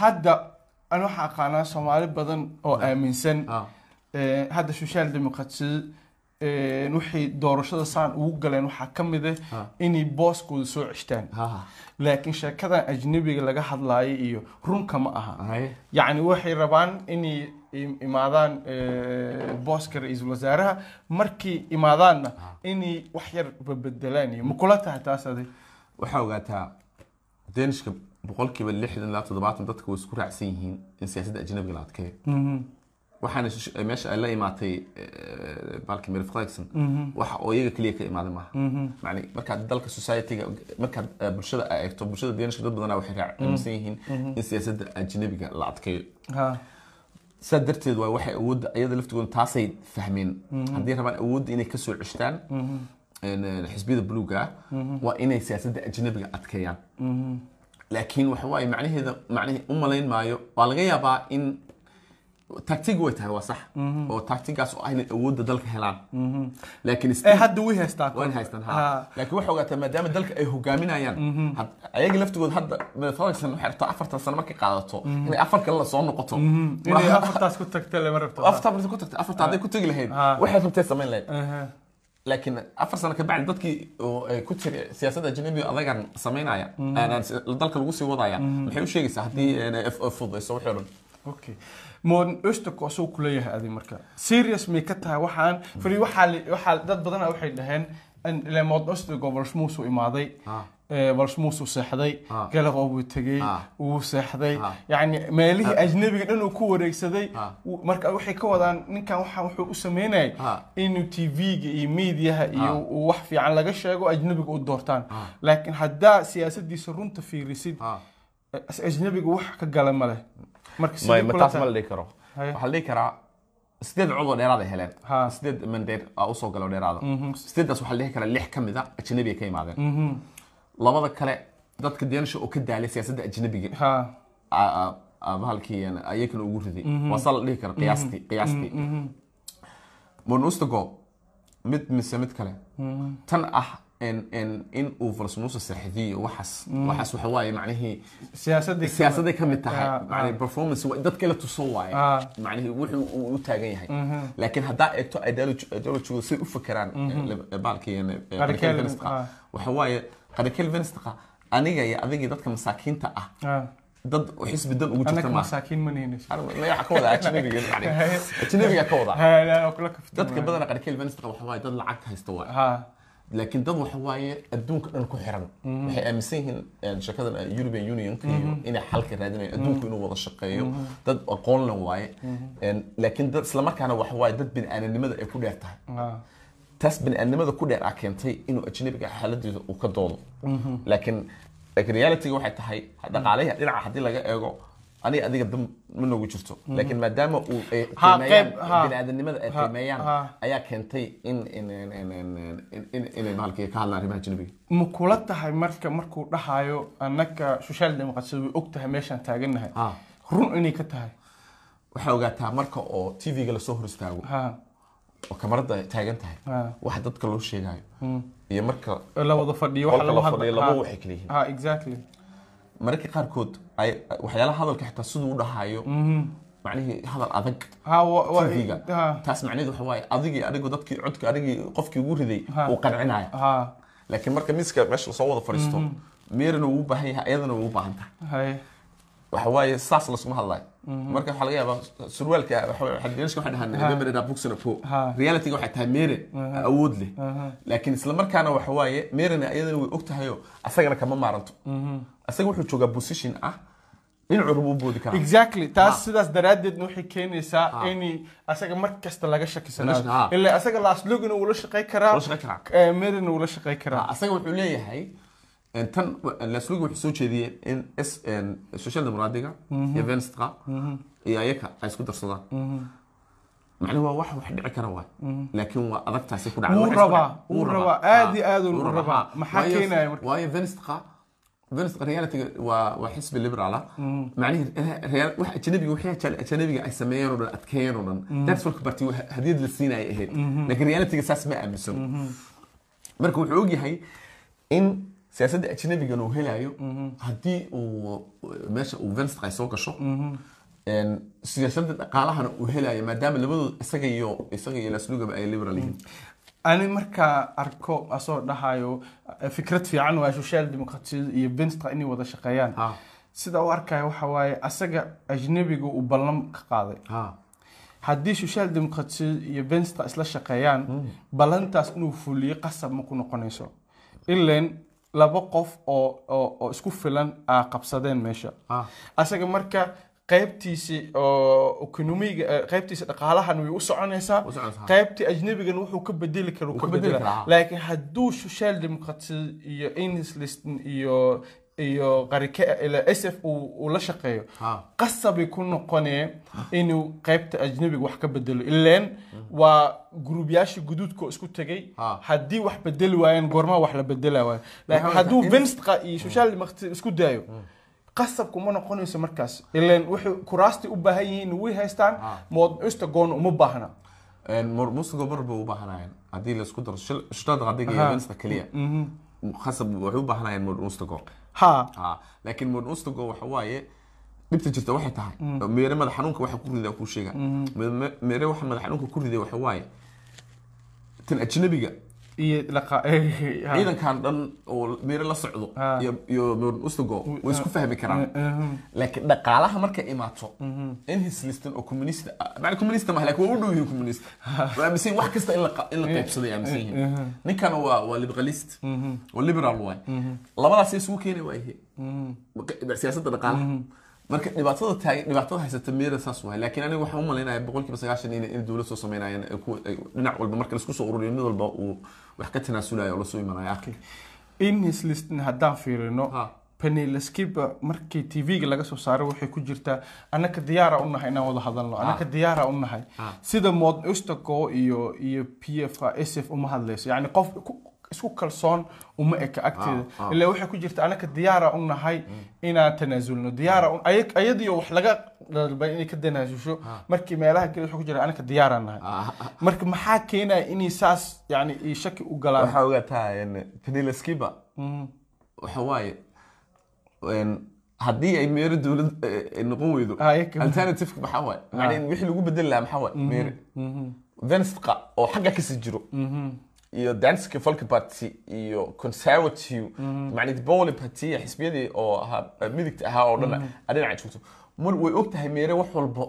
A: hadda aan waxaa aqaanaa soomaali badan oo aaminsan
B: ah,
A: Eh, hadda social democracy eh, waxay doorashada saan ugu galeen waxaa ka mid ah
B: Ha.
A: inay booskooda soo ceshtaan
B: ah,
A: laakiin sheekadan ajnabiga laga hadlaaya iyo runka ma aha
B: ah.
A: yacni waxay rabaan inay im- imaadaan eh, booska ra-iisul wasaaraha markay imaadaanna inay wax yar babedelaan iyo makula tahay taas aday
B: waxaa ogaataa deenishka boqolkiiba lixdan ilaa toddobaatan dadka way isku raacsan yihiin in siyaasadda ajnabiga la adkeeyo waxaana sh- eh, meesha ay la imaatay eh, balki mary clarkson waxa oo iyaga keliya ka imaaday maaha macni markaad dalka society-ga markaad eh, bulshada ay eegto bulshada deenishka dad badanaa waxay raac- aaminsan yihiin in siyaasadda ajnabiga la adkeeyo
A: ha
B: saa darteed waa waxay awoodda iyada laftigooda taasay fahmeen haddii rabaan awoodda inay kasoo ceshtaan een, een, xisbiyada buluuga ah waa inay siyaasadda ajnabiga adkeeyaan laakiin waxa waaye macnaheeda macnahe u malayn maayo waa laga yaabaa in taktig way tahay waa sax oo taktigaas oo aynan awoodda dalka helaan laakiin
A: ee
B: still-
A: Eh, hadda way haystaan
B: waan haystaan
A: Ha.
B: ha laakiin waxaa ogaataa maadaama dalka ay hogaaminayaan had- ayaga laftigooda hadda farasan waxay rabtaa afartan sano markay qaadato inay afar kale la soo noqoto
A: Mhm. inay afartaas ku tagta lama rabto
B: afarta markay ku tagtay afarta hadday ku tegi lahayd
A: Ah.
B: waxay rabtay samayn lahayd
A: Aha.
B: laakiin afar sano kabacdi dadkii oo ay ku jiri siyaasadda ajnabiga adagan samaynaya aanaan si- dalka lagu sii wadaya maxay u sheegaysaa haddii aanay f- f- fududayso waxay dhan
A: okay moon östok asuu ku leeyahay adig marka serious may ka tahay waxaan fali waxaa li- waxaa dad badan waxay dhaheen in ilaa moon östok oo valshmuus u imaaday
B: Ah.
A: ee, valshmuus uu seexday
B: Ah.
A: galaqoo buu tegey
B: Ah.
A: wuu seexday
B: Ah.
A: yacni meelihii ajnabiga dhan uu ku wareegsaday
B: Ah.
A: wuu- marka waxay ka wadaan ninkan waxaa wuxuu u sameynayay
B: Ah.
A: inuu tv-ga iyo mediaha iyo
B: Ah.
A: uu wax fiican laga sheego ajnabiga u doortaan
B: Ah.
A: laakiin haddaa siyaasadiisa runta fiirisid as- ajnabiga wax ka gala ma leh marka sidii kula
B: taas
A: tahay-
B: ma la dhihi karo
A: Haye.
B: waxaa la dhihi karaa sideed cod oo dheeraad ay heleen
A: Ha.
B: sideed mandeed aa usoo galo dheeraada sideedaas waxaa la dhihi karaa lix ka mid a ajnabi ay ka imaadeen labada kale dadka deenasha oo ka daalay siyaasadda ajnabiga
A: ها
B: aa- aa- bahalkii yani ayagana ugu riday waa saa la dhihi kara qiyaastii qiyaastii monustago mid mise mid kale tan ah in in in uu falsumuusa saaxiidiyo waxaas waxaas waxa waaye macnihii
A: سياسة دي
B: siyaasaday ka mid tahay
A: Ah,
B: macnii performance wa- dadka la tuso waaye
A: Ah.
B: macnihii wuxuu uu u taagan yahay laakiin haddaa eegto ideologigooda siay u fakeraan eh, baalkii yani
A: Radical, ah.
B: waxa waaye qarakel venistaqa aniga iyo adigii dadka masaakiinta ah
A: ها
B: dad xisbi dan ugu
A: انك
B: jirta maaha
A: مساكين من هنا
B: Arma- magaca ka wadaa ajnabiga macni. ajnabiga ka wadaa
A: ها لا اقول لك
B: dadka badan qarkeel venice waxa waaye dad lacag haysta waaye
A: ها
B: laakiin dad waxa waaye adduunka dhan ku xiran waxay aaminsan yihiin een, shakadan eh, european union inay xalka raadinayo adduunku inuu wada shaqeeyo dad aqoon leh waaye Een, laakiin dad islamarkaana waxa waaye dad bini'aadanimada ay ku dheer tahay
A: ها
B: taas bini'aadnimada ku dheer a keentay inuu ajnabiga xaaladiisa uu ka doodo laakiin laakiin realityga waxay tahay dhaqaalaha dhinaca haddii laga eego aniga adiga dam ma nagu jirto laakiin maadaama uu ay
A: Ha,
B: qiimeeyaan
A: qayb- ha.
B: bini'aadnimada ay
A: Ha,
B: qiimeeyaan
A: ha.
B: ayaa keentay in in in in in- in- in- inay bahalkii ka hadlaan arrimaha ajnabiga
A: makula tahay marka markuu dhahayo annaka social democracy way og tahay meeshaan taagannahay
B: Ha.
A: run inay ka tahay
B: waxaa ogaataa marka oo tv-ga lasoo hor istaago
A: ها
B: oo kamarada ay taagan tahay
A: Ah.
B: waxa dadka loo sheegayo iyo marka
A: la wada fadhiyo
B: qolka
A: waxa
B: la
A: lagu
B: fadhiyo
A: hadla
B: laba waxay kala yihiin
A: ha exactly
B: mararka qaarkood ay waxyaalaha hadalka xitaa siduu u dhahayo
A: Mhm.
B: macnihii hadal adag
A: ha wa wa-
B: TV-ga
A: ha
B: taas macnaheedu waxa waaye adigii anigu dadkii codka anigii qofkii ugu riday
A: Ha.
B: uu qancinaya
A: ha
B: laakiin marka miiska meesha soo wada fadhiisto
A: Mhm.
B: meerina wuu u baahan yahay iyadana way u baahan tahay
A: hay
B: waxa waaye saas lasuma hadlayo
A: Mhm.
B: marka waxaa laga yaabaa surwaalka waxa- xaddidaanska waxay dhahaan remember that books and a po
A: Ha. Uh-huh.
B: realityga waxay tahay meere awood leh laakiin isla markaana waxa waaye meerina iyadana way og tahayo asagana kama maaranto
A: Mhm.
B: asaga wuxuu joogaa position ah dhinacuu raba u boodi karaa
A: exactly taas sidaas daraadeedna waxay keenaysaa in asaga mar kasta laga
B: Laga shak-
A: shakisanaado
B: ha.
A: ilaa asaga laaslogina wuu la shaqey karaa
B: Wala shaqeyn karaa.
A: eh, merina wuu la shaqey karaa
B: asaga wuxuu leeyahay en, tan laslugi wuxuu soo jeediyey in s en, social democratiga
A: Mhm.
B: iyo venstra iyo ayaka ay isku darsadaan macnahedu waa wax wax dhici kara waay laakiin waa adag taasi ku dhacda
A: Mhm. Wuu
B: Wax isku
A: rabaa,
B: dhac-
A: wuu
B: wuu
A: rabaa, aad iyo
B: Ah,
A: aad uu
B: wuu
A: rabaa. Maxaa
B: Waayo-
A: keenaya marka?
B: waayo venstra venstra realitiga waa waa xisbi liberal ah
A: Mhm.
B: macnihii real- wax ajnabiga wixii aja- ajnabiga ay sameeyeen oo dhan adkeeyeen oo
A: Mhm.
B: dhan that's what party waa hadiyad la siinaya ahayd laakiin realitiga saas ma aaminsano
A: Mhm.
B: marka wuxuu ogyahay in siyaasadda ajnabigan uu helayo haddii uu uh, meesha uu venstre ay soo gasho en, siyaasadda dhaqaalahana uu helayo maadaama labadood isaga iyo isaga iyo laslugaba ay liberal yihiin
A: ani markaa arko asoo dhahayo eh, fikrad fiican waa social democratiyada iyo venstra inay wada shaqeeyaan
B: Ha.
A: sida u arkaya waxa waaye asaga ajnabiga uu ballan ka qaaday
B: ha
A: haddii social democratiyad iyo venstra isla shaqeeyaan ballantaas inuu fuliyo qasab ma ku noqonayso ilan laba qof oo oo oo isku filan aa qabsadeen meesha
B: ha
A: asaga marka qaybtiisi oo ekonomiga eh, qaybtiisa dhaqaalahan way u soconaysaa
B: u soconaysaa.
A: qaybtii ajnabigan wuxuu ka bedeli karo
B: Wuu
A: ka
B: ka bedeli
A: bedela
B: karaa.
A: laakiin hadduu social democracy iyo enliston iyo iyo qarike ila sf uu uu la shaqeeyo
B: ha
A: qasabay ku noqonee inuu qaybta ajnabiga wax ka bedelo ileen waa gruubyaashii guduudka oo isku tegay
B: Ha.
A: haddii wax bedeli waayeen goormaa wax la bedela waay laakiin
B: Maxaa Hmm.
A: hadduu
B: in-
A: venstra iyo social democracy isku daayo
B: Hmm.
A: qasab kuma noqonayso markaas ileen wuxuu kuraastii u baahan yihiin way haystaan
B: Ha.
A: moodcista goona uma baahna
B: musuga mar bay u baahanayeen haddii laisku daro shtada adiga
A: Aha.
B: iyo venstre keliya khasab waxay u baahanayeen modern mustago
A: ha
B: ha laakiin modern mustago waxa waaye dhibta jirta waxay tahay meere madax xanuunka waxa ku rida kuu sheega meere waxa madax xanuunka ku riday waxa waaye tan ajnabiga
A: iyo laqa eh, ha.
B: ciidankan dhan oo meere la socdo
A: Ha.
B: iyo- iyo modern mustago way isku fahmi karaan
A: Mhm.
B: laakiin dhaqaalaha markay imaato in hislistan oo communist ah- macna communist ma laakiin waa u dhow yihiin communist waa aaminsan yihiin wax kasta in la qa- in la qaybsaday aaminsan yihiin ninkana waa waa liberalist oo liberal waay labadaas isugu keenay waayihii Maq- siyaasadda dhaqaalaha marka dhibaatada taag dhibaatada haysata meera saas waay laakiin aniga waxaan u malaynayaa boqolkiiba sagaashan in in dowlad soo sameynayaan ay ku- ay- dhinac walba marka laisku soo ururiyo mid walba uu wax ka tanaasulayo oo lasoo imanaya akhi
A: in his listin haddaan fiirino
B: Ha.
A: panelaskiba markii tv-ga laga soo saaray waxay ku jirtaa anaka diyaara u nahay inaan wada hadalno anaka diyaara u nahay
B: Ha.
A: sida mod ustaco iyo iyo p f s f uma hadlayso yacni qof ku- isku kalsoon uma eka agteeda
B: Ha, ha.
A: ilaa waxay ku jirta anaka diyaara u nahay inaan tanaasulno diyaara u- ayag- iyadiyo wax laga dalbay inay ka tanaasusho markii meelaha kale waxay ku jirta anaka diyaara nahay marka maxaa keenaya inay saas yacni iyo shaki u galaan Hmm.
B: waxaa ogataa vanilla skiba waxa waaye een, haddii ay meero dowlad eh, eh, noqon weydo
A: Ah, iya kama-
B: alternative maxaa waaye macnaheed wixii lagu bedeli lahaa maxaa waaye meere vensqa oo xagga kasii jiro iyo danska folk party iyo conservative macnaheed bowle party xisbiyadii oo ahaa eh, midigta ahaa oo dhan ah dhinaca joogto mar way og tahay meere wax walba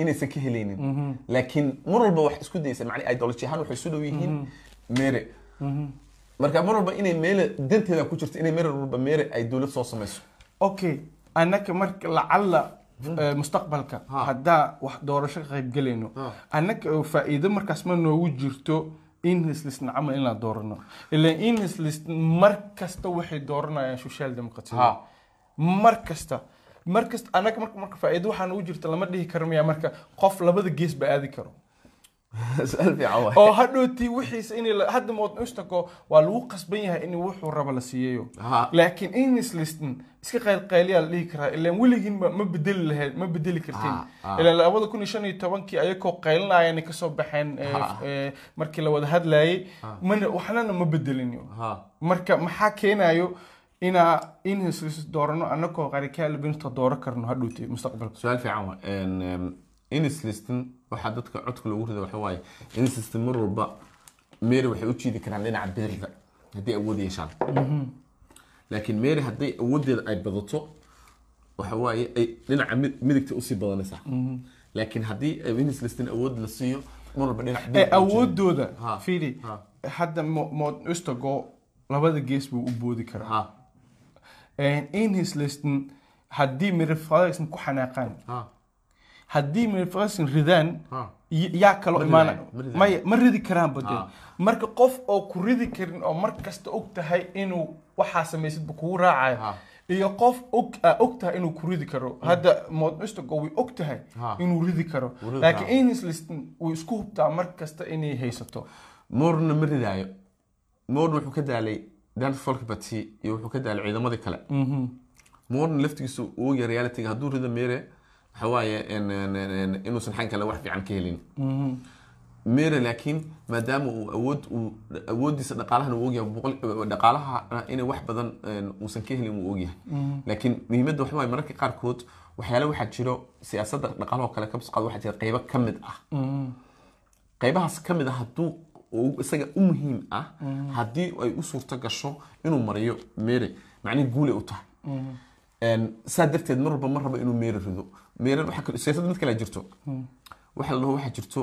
B: inaysan ka helaynin laakiin mar walba wax isku daysa macnaheed ideology ahaan waxay isu dhow yihiin meere marka mar walba inay meele danteeda ku jirto inay meer walba meere ay dowlad soo samayso
A: okay annaka marka lacalla eh, mustaqbalka
B: Hmm. Ha.
A: haddaa wax doorasho ka qayb galayno
B: Ha.
A: annaka oo faa'iido markaas ma noogu jirto in hislisna camal in la doorano ilaan in hislis mar kasta waxay dooranayaan social democratyada
B: Ha.
A: mar kasta mar kasta annaga marka marka faa'iido waxaa noogu jirta lama dhihi karo miyaa marka qof labada gees ba aadi karo
B: su-aal fiican waay
A: oo hadhowtii wixiisa in la- hadda mood ustako waa lagu qasban yahay in wuxuu raba la siiyayo
B: Ha.
A: laakiin in islistin iska qaylqayliyaa la dhihi karaa ilaan weligiin ma ma bedeli lahayd ma bedeli kartin
B: Ha, ha.
A: ilaa labada kun iyo shan iyo tobankii ayakoo qaylinayana kasoo baxeen eh,
B: Ha.
A: eh, markii la wada hadlayay mana waxnana ma bedelin
B: Ha.
A: marka maxaa keenayo inaa in islis doorano anakoo qarikaalibinta dooro karno hadhowtii mustaqbalka
B: su-aal fiican waay En, em, inislistin waxaa dadka codka loogu rida waxa waaye inislistin mar walba mary waxay u jiidi karaan dhinaca birida haddii awood yeeshaan Mhm. laakiin mary hadday awooddeeda ay badato waxa waaye ay dhinaca mid- midigta usii badanaysaa laakiin haddii inislistin awood la siiyo mar walba dhinaca
A: ee
B: birida
A: awoodooda
B: Ha,
A: fiili
B: ha.
A: Eh, hadda mo- mood ustago labada gees buu u boodi karaa
B: ha
A: in his listin haddii mirifalexin ku xanaaqaan
B: ha
A: haddii mirifalexin ridaan
B: ha
A: y- yaa kalo
B: Ma
A: imaana
B: ridayo, ma ridayo.
A: maya ma ridi karaan bade
B: Ha.
A: marka qof oo ku ridi karin oo mar kasta og tahay inuu waxaa samaysadba kugu raacayo
B: Ha. Hmm.
A: iyo qof og aa og tahay inuu ku ridi karo hadda mood ustago way og tahay
B: Ha.
A: inuu ridi karo
B: Uu ridi
A: laakiin
B: karaa.
A: in his listin wuu isku hubtaa mar kasta inay haysato
B: moorna ma ridaayo moorna wuxuu ka daalay danfolk bati iyo wuxuu ka daalay ciidamadii kale moorna laftigiisu uu ogya realityga hadduu rido mere waxa waaye en- en- en- en- inuusan xan kale wax fiican ka helin mere laakiin maadaama uu awood uu awooddiisa dhaqaalahana uu ogyahay boqol dhaqaalaha inay wax badan en, uusan ka helin uu ogyahay laakiin muhiimadda waxa waaye mararka qaarkood waxyaale waxaa jiro siyaasadda dhaqaalahoo kale ka busqaad waxaa jira qeybo ka mid ah qaybahaas ka mid ah hadduu u- isaga u muhiim ah haddii ay u suurto gasho inuu mariyo mary macnihi guulay u tahay En, saa darteed mar walba ma rabo inuu mary rido mary waxaa kale- siyaasadda mid kale jirto waxa la dhaho waxaa jirto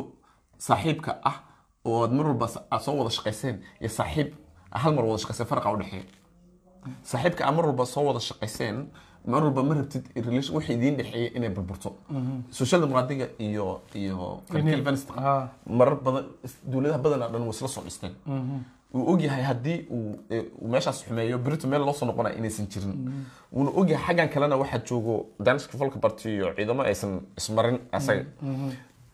B: saaxiibka ah oo aad mar walba sa- aad soo wada shaqayseen iyo saaxiib hal mar wada shaqayseen faraqa udhexeeya saaxiibka aad mar walba soo wada shaqayseen mar walba ma rabtid relation wixii idiin dhexeeya inay burburto social democratiga iyo iyo Calvinist
A: ha.
B: marar badan dowladaha badanaa dhan way isla soo dhisteen wuu ogyahay haddii uu ee, uu meeshaas xumeeyo berito meel loo soo noqonaya inaysan jirin wuuna ogyahay xaggan kalena waxaa joogo danska folka barti iyo ciidamo aysan ismarin asaga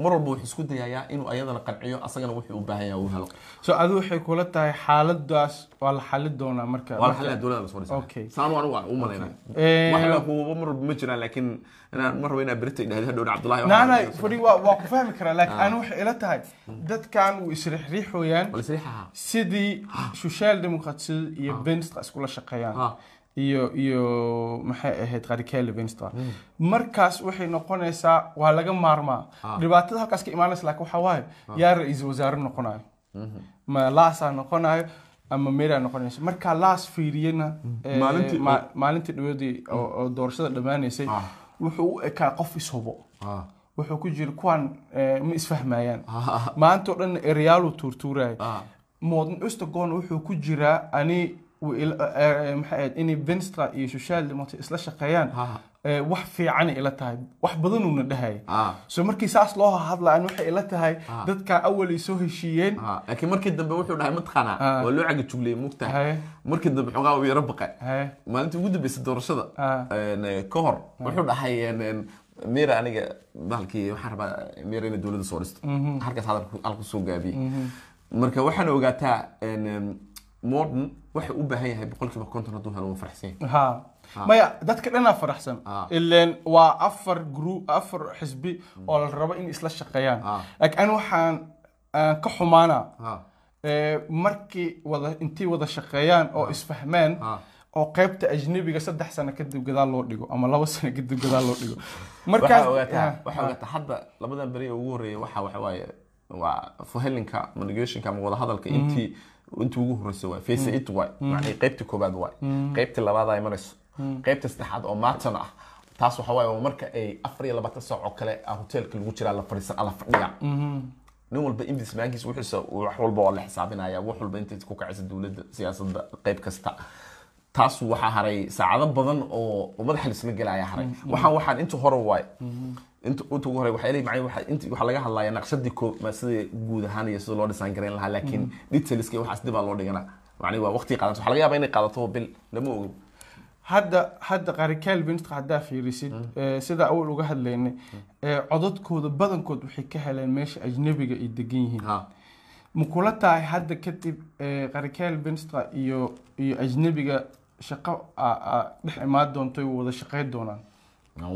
B: mar walba wuxuu isku dayayaa inuu ayadana qanciyo asagana wuxuu u baahan yahay uu helo
A: so adu waxay kula tahay xaaladaas waa la xalin doonaa marka
B: waa xalaa dowladda la soo dhisay
A: Okay.
B: saanu anigu waa u malaynaya
A: Eh,
B: waxba kuwa mar walba ma jiraan laakiin inaan mar raba inaa berito idhahdo hadhow cabdullahi waxaa-
A: naana fari waa waa ku fahmi karaa laakiin
B: Ah.
A: anigu waxay ila tahay dadkan way isriixriixooyaan
B: wala sariixaha
A: sidii
B: Ah.
A: social democratisada iyo venstra iskula shaqeeyaan
B: ha
A: iyo iyo maxay ahayd qarikeele venstra
B: Hmm.
A: markaas waxay noqonaysaa waa laga maarmaa
B: Ah.
A: dhibaatada halkaas ka imaanaysa laakiin waxaa waaye yaa ra-iisul wasaare noqonayo
B: Hmm.
A: ma laasaa noqonayo ama meeraa noqonaysa markaa laas fiiriyena eh,
B: Hmm. Maalintii- Hmm.
A: ma- maalintii dhaweedii oo oo doorashada dhammaanaysay
B: Ah.
A: wuxuu u ekaa qof ishubo
B: ha
A: wuxuu ku jiri kuwan eh, ma isfahmayaan
B: ha
A: maanta oo dhan eryaalu tuurtuuraya
B: ha
A: modern Ostergon wuxuu ku jiraa ani wuu ila- eh, eh, maxay ahayd inay Venstra iyo Social Democrat isla shaqeeyaan
B: ha
A: eh, wax fiican ila tahay wax badanuuna dhahaya
B: ha
A: so markii saas loo hadlaan waxay ila tahay
B: Ah.
A: dadka awalay soo heshiiyeen
B: ها لكن مركي الدنبا وحو دحي متقانا
A: آه.
B: ولو عقد جولي مقتها
A: haye
B: مركي الدنبا حوغا وي ربقا
A: haye
B: ما انت ودي بس الدورشدا
A: آه.
B: ان كهر وحو دحي ان ميرا انيغا بالكي وحربا ميرا ان دولده سورست هركس هذا الكو سو غابي
A: mhm,
B: مركا وحنا اوغاتا ان مودن وحي u baahan yahay boqolkiiba konton hadduu helo waa faraxsan yahay
A: ها maya dadka dhanaa faraxsan
B: Ah.
A: ileen waa afar group afar xisbi oo la rabo in isla shaqeeyaan
B: Ah.
A: laakiin ani waxaan aan ka xumaanaa
B: ها
A: ee, markii wada intii wada shaqeeyaan
B: Ah.
A: oo isfahmaan
B: ها
A: oo qaybta ajnabiga saddex sano kadib gadaal loo dhigo ama laba sano kadib gadaal loo dhigo
B: waxaa
A: markaas
B: ogaataa
A: Ah,
B: waxaa ogaataa hadda labadan beri ee ugu horeeya waxa waxa waaye waa fuhelinka manigationka ama wadahadalka intii intii ugu horeysa waay face it waay macnay qaybtii koobaad waay qaybtii labaad ay marayso qaybta saddexaad oo maatan ah taas waxa waaye waa marka ay afar iyo labaatan saac oo kale ah hoteelka lagu jiraa la fadhiisan ala fadhiya
A: Mm-hmm.
B: nin walba inbis maankiisa wuxuusa wax walba waa la xisaabinaya wax walba intay ku kacaysa dowladda siyaasadda qayb kasta taas waxaa haray saacado badan oo oo madaxa laisla gelaya haray waxaan waxaan inta hore waay inta inta ugu hore waxaa leeyahay macnaheedu waxaa inta waxaa laga hadlayaa naqshadii koo ma- sida guud ahaan iyo sida loo dhisaan garayn lahaa laakiin detailska iyo waxaas dib aa loo dhiganaa macnaheedu waa waqti qaadanto waxaa laga yaabaa inay qaadato bil lama ogo
A: hadda hadda qaari calvinistka haddaa fiirisid
B: Mm.
A: ee, sida awal uga hadlaynay ee, codadkooda badankood waxay ka heleen meesha ajnabiga ay degan yihiin
B: ها
A: ma kula tahay hadda kadib ee, qaari calvinistka iyo iyo ajnabiga shaqo a- a- dhex imaan doonto ay wada shaqayn doonaan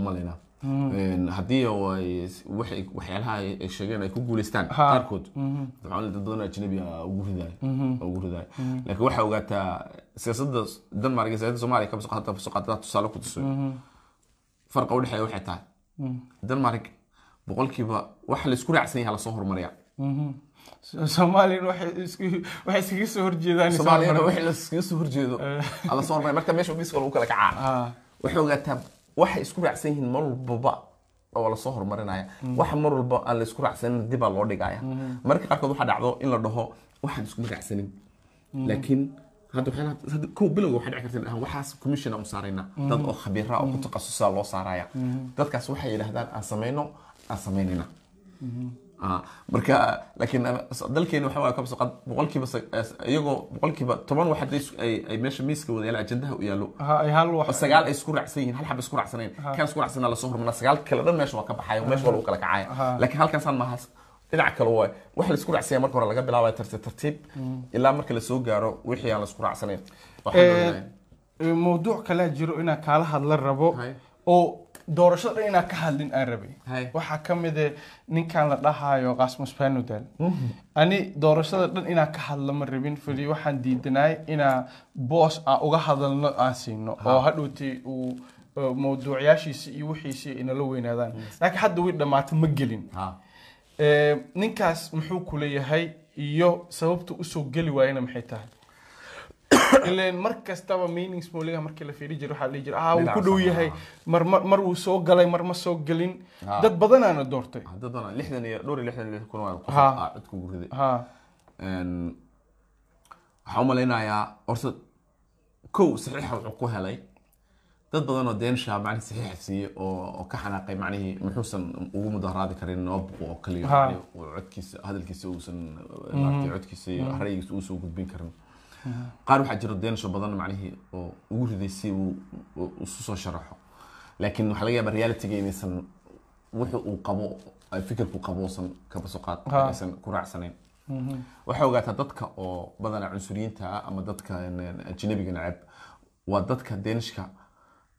B: uma leynaa Een, haddii ay waxay- waxyaalaha ay ay sheegeen ay ku guuleystaan
A: Ha.
B: qaarkood
A: Mm-hmm.
B: waxaan leeyahay dad badan oo ajnabi ah ugu ridaaya ugu ridaaya laakiin waxaa ogaataa siyaasadda Denmark iyo siyaasadda Soomaaliya kama soo qaadata soo qaadata tusaale ku tusayo
A: Mhm. Mm-hmm.
B: farqa u dhexeeya waxay tahay Denmark boqolkiiba wax la isku raacsan yahay la soo horumariya
A: So- soomaaliyana Mhm. waxay isku- waxay iskaga soo horjeedaan
B: Soomaaliyana wax la iskaga soo horjeedo la soo horumariya marka meesha miiska lagu kala kacaa
A: Ah,
B: waxay ogaataa waxay isku raacsan yihiin mar walbaba oo lasoo horumarinaya wax mar walba aan la isku raacsanin dibaa loo dhigaya marka qaarkood waxaa dhacdo in la dhaho waxaan iskuma raacsanin laakiin hadda waxyaalaha- hadda kow bilowga waxaa dhici karta in dhahaan, waxaas commissiona u saaraynaa dad oo khabiira oo ku takhasusa loo saaraya dadkaas waxay yidhahdaan aan samayno aan samaynayna Ah, marka laakiin ana- dalkeena waxa waaye kabso qad boqolkiiba sa- iyagoo boqolkiiba toban wax hadday isku- ay ay meesha miiska wadayaala ajandaha u yaallo
A: ha- ay hal
B: oo
A: wax Eh,
B: sagaal ay isku raacsan yihiin hal xab isku raacsanayn kan isku raacsana lasoo hormarna sagaal kale dhan meesha waa ka baxaya meesha waa lagu kala kacaya laakiin halkan saan maaha dhinac kale waay wax la isku raacsanya marka hore laga bilaabaya tartiib tartiib ilaa marka la soo gaaro wixii aan la isku raacsanayn waxaan
A: Ee,
B: doonayaa.
A: ee, eh, mawduuc kalaa jiro inaa kaala hadla rabo
B: Hay.
A: oo doorashada inaa ka hadlin aan rabay
B: Hay.
A: waxaa ka mid eh ninkan la dhahayo qasmus banudal
B: Mhm.
A: ani doorashada dhan inaa ka hadla ma rabin fali waxaan diidanaay inaa boos aan uga hadalno aan siino oo hadhowti uu eh, mawduucyaashiisii iyo wixiisii inala weynaadaan laakiin hadda way dhammaata ma gelin
B: Ha.
A: Ee, ninkaas muxuu kula yahay iyo sababta usoo geli waayena maxay tahay ileen mar kastaba meanings mowliga markii la fiiri jiro waxaa la dhihi jira ah wuu ku dhow yahay mar mar mar wuu soo galay mar ma soo gelin
B: Ah.
A: dad badanaana doortay
B: haddii doonaa lixdan iyo dhowr iyo lixdan iyo lix kun waa qof
A: Ha.
B: ah codku ugu riday
A: ha
B: Een, waxaan u malaynayaa horta kow saxiixa wuxuu ku helay dad badan oo deen shaabacan saxiixa siiyey oo oo ka xanaaqay macnihii muxuusan ugu mudaharaadi karin noob oo kaliya
A: Ha.
B: macnihii uu codkiisa hadalkiisa uusan maaragtay codkiisa iyo ra'yigiisa uusan u gudbin karin qaar waxaa jira deensho badan macnihii oo ugu riday si uu uu isu soo sharaxo laakiin waxaa laga yaabaa realityga inaysan wuxuu uu qabo ay fikirku qabo uusan kaba soo qaad
A: Ha.
B: aysan ku raacsanayn waxaa ogaataa dadka oo badanaa cunsuriyiinta ah ama dadka een, een, ajnabiga neceb waa dadka denishka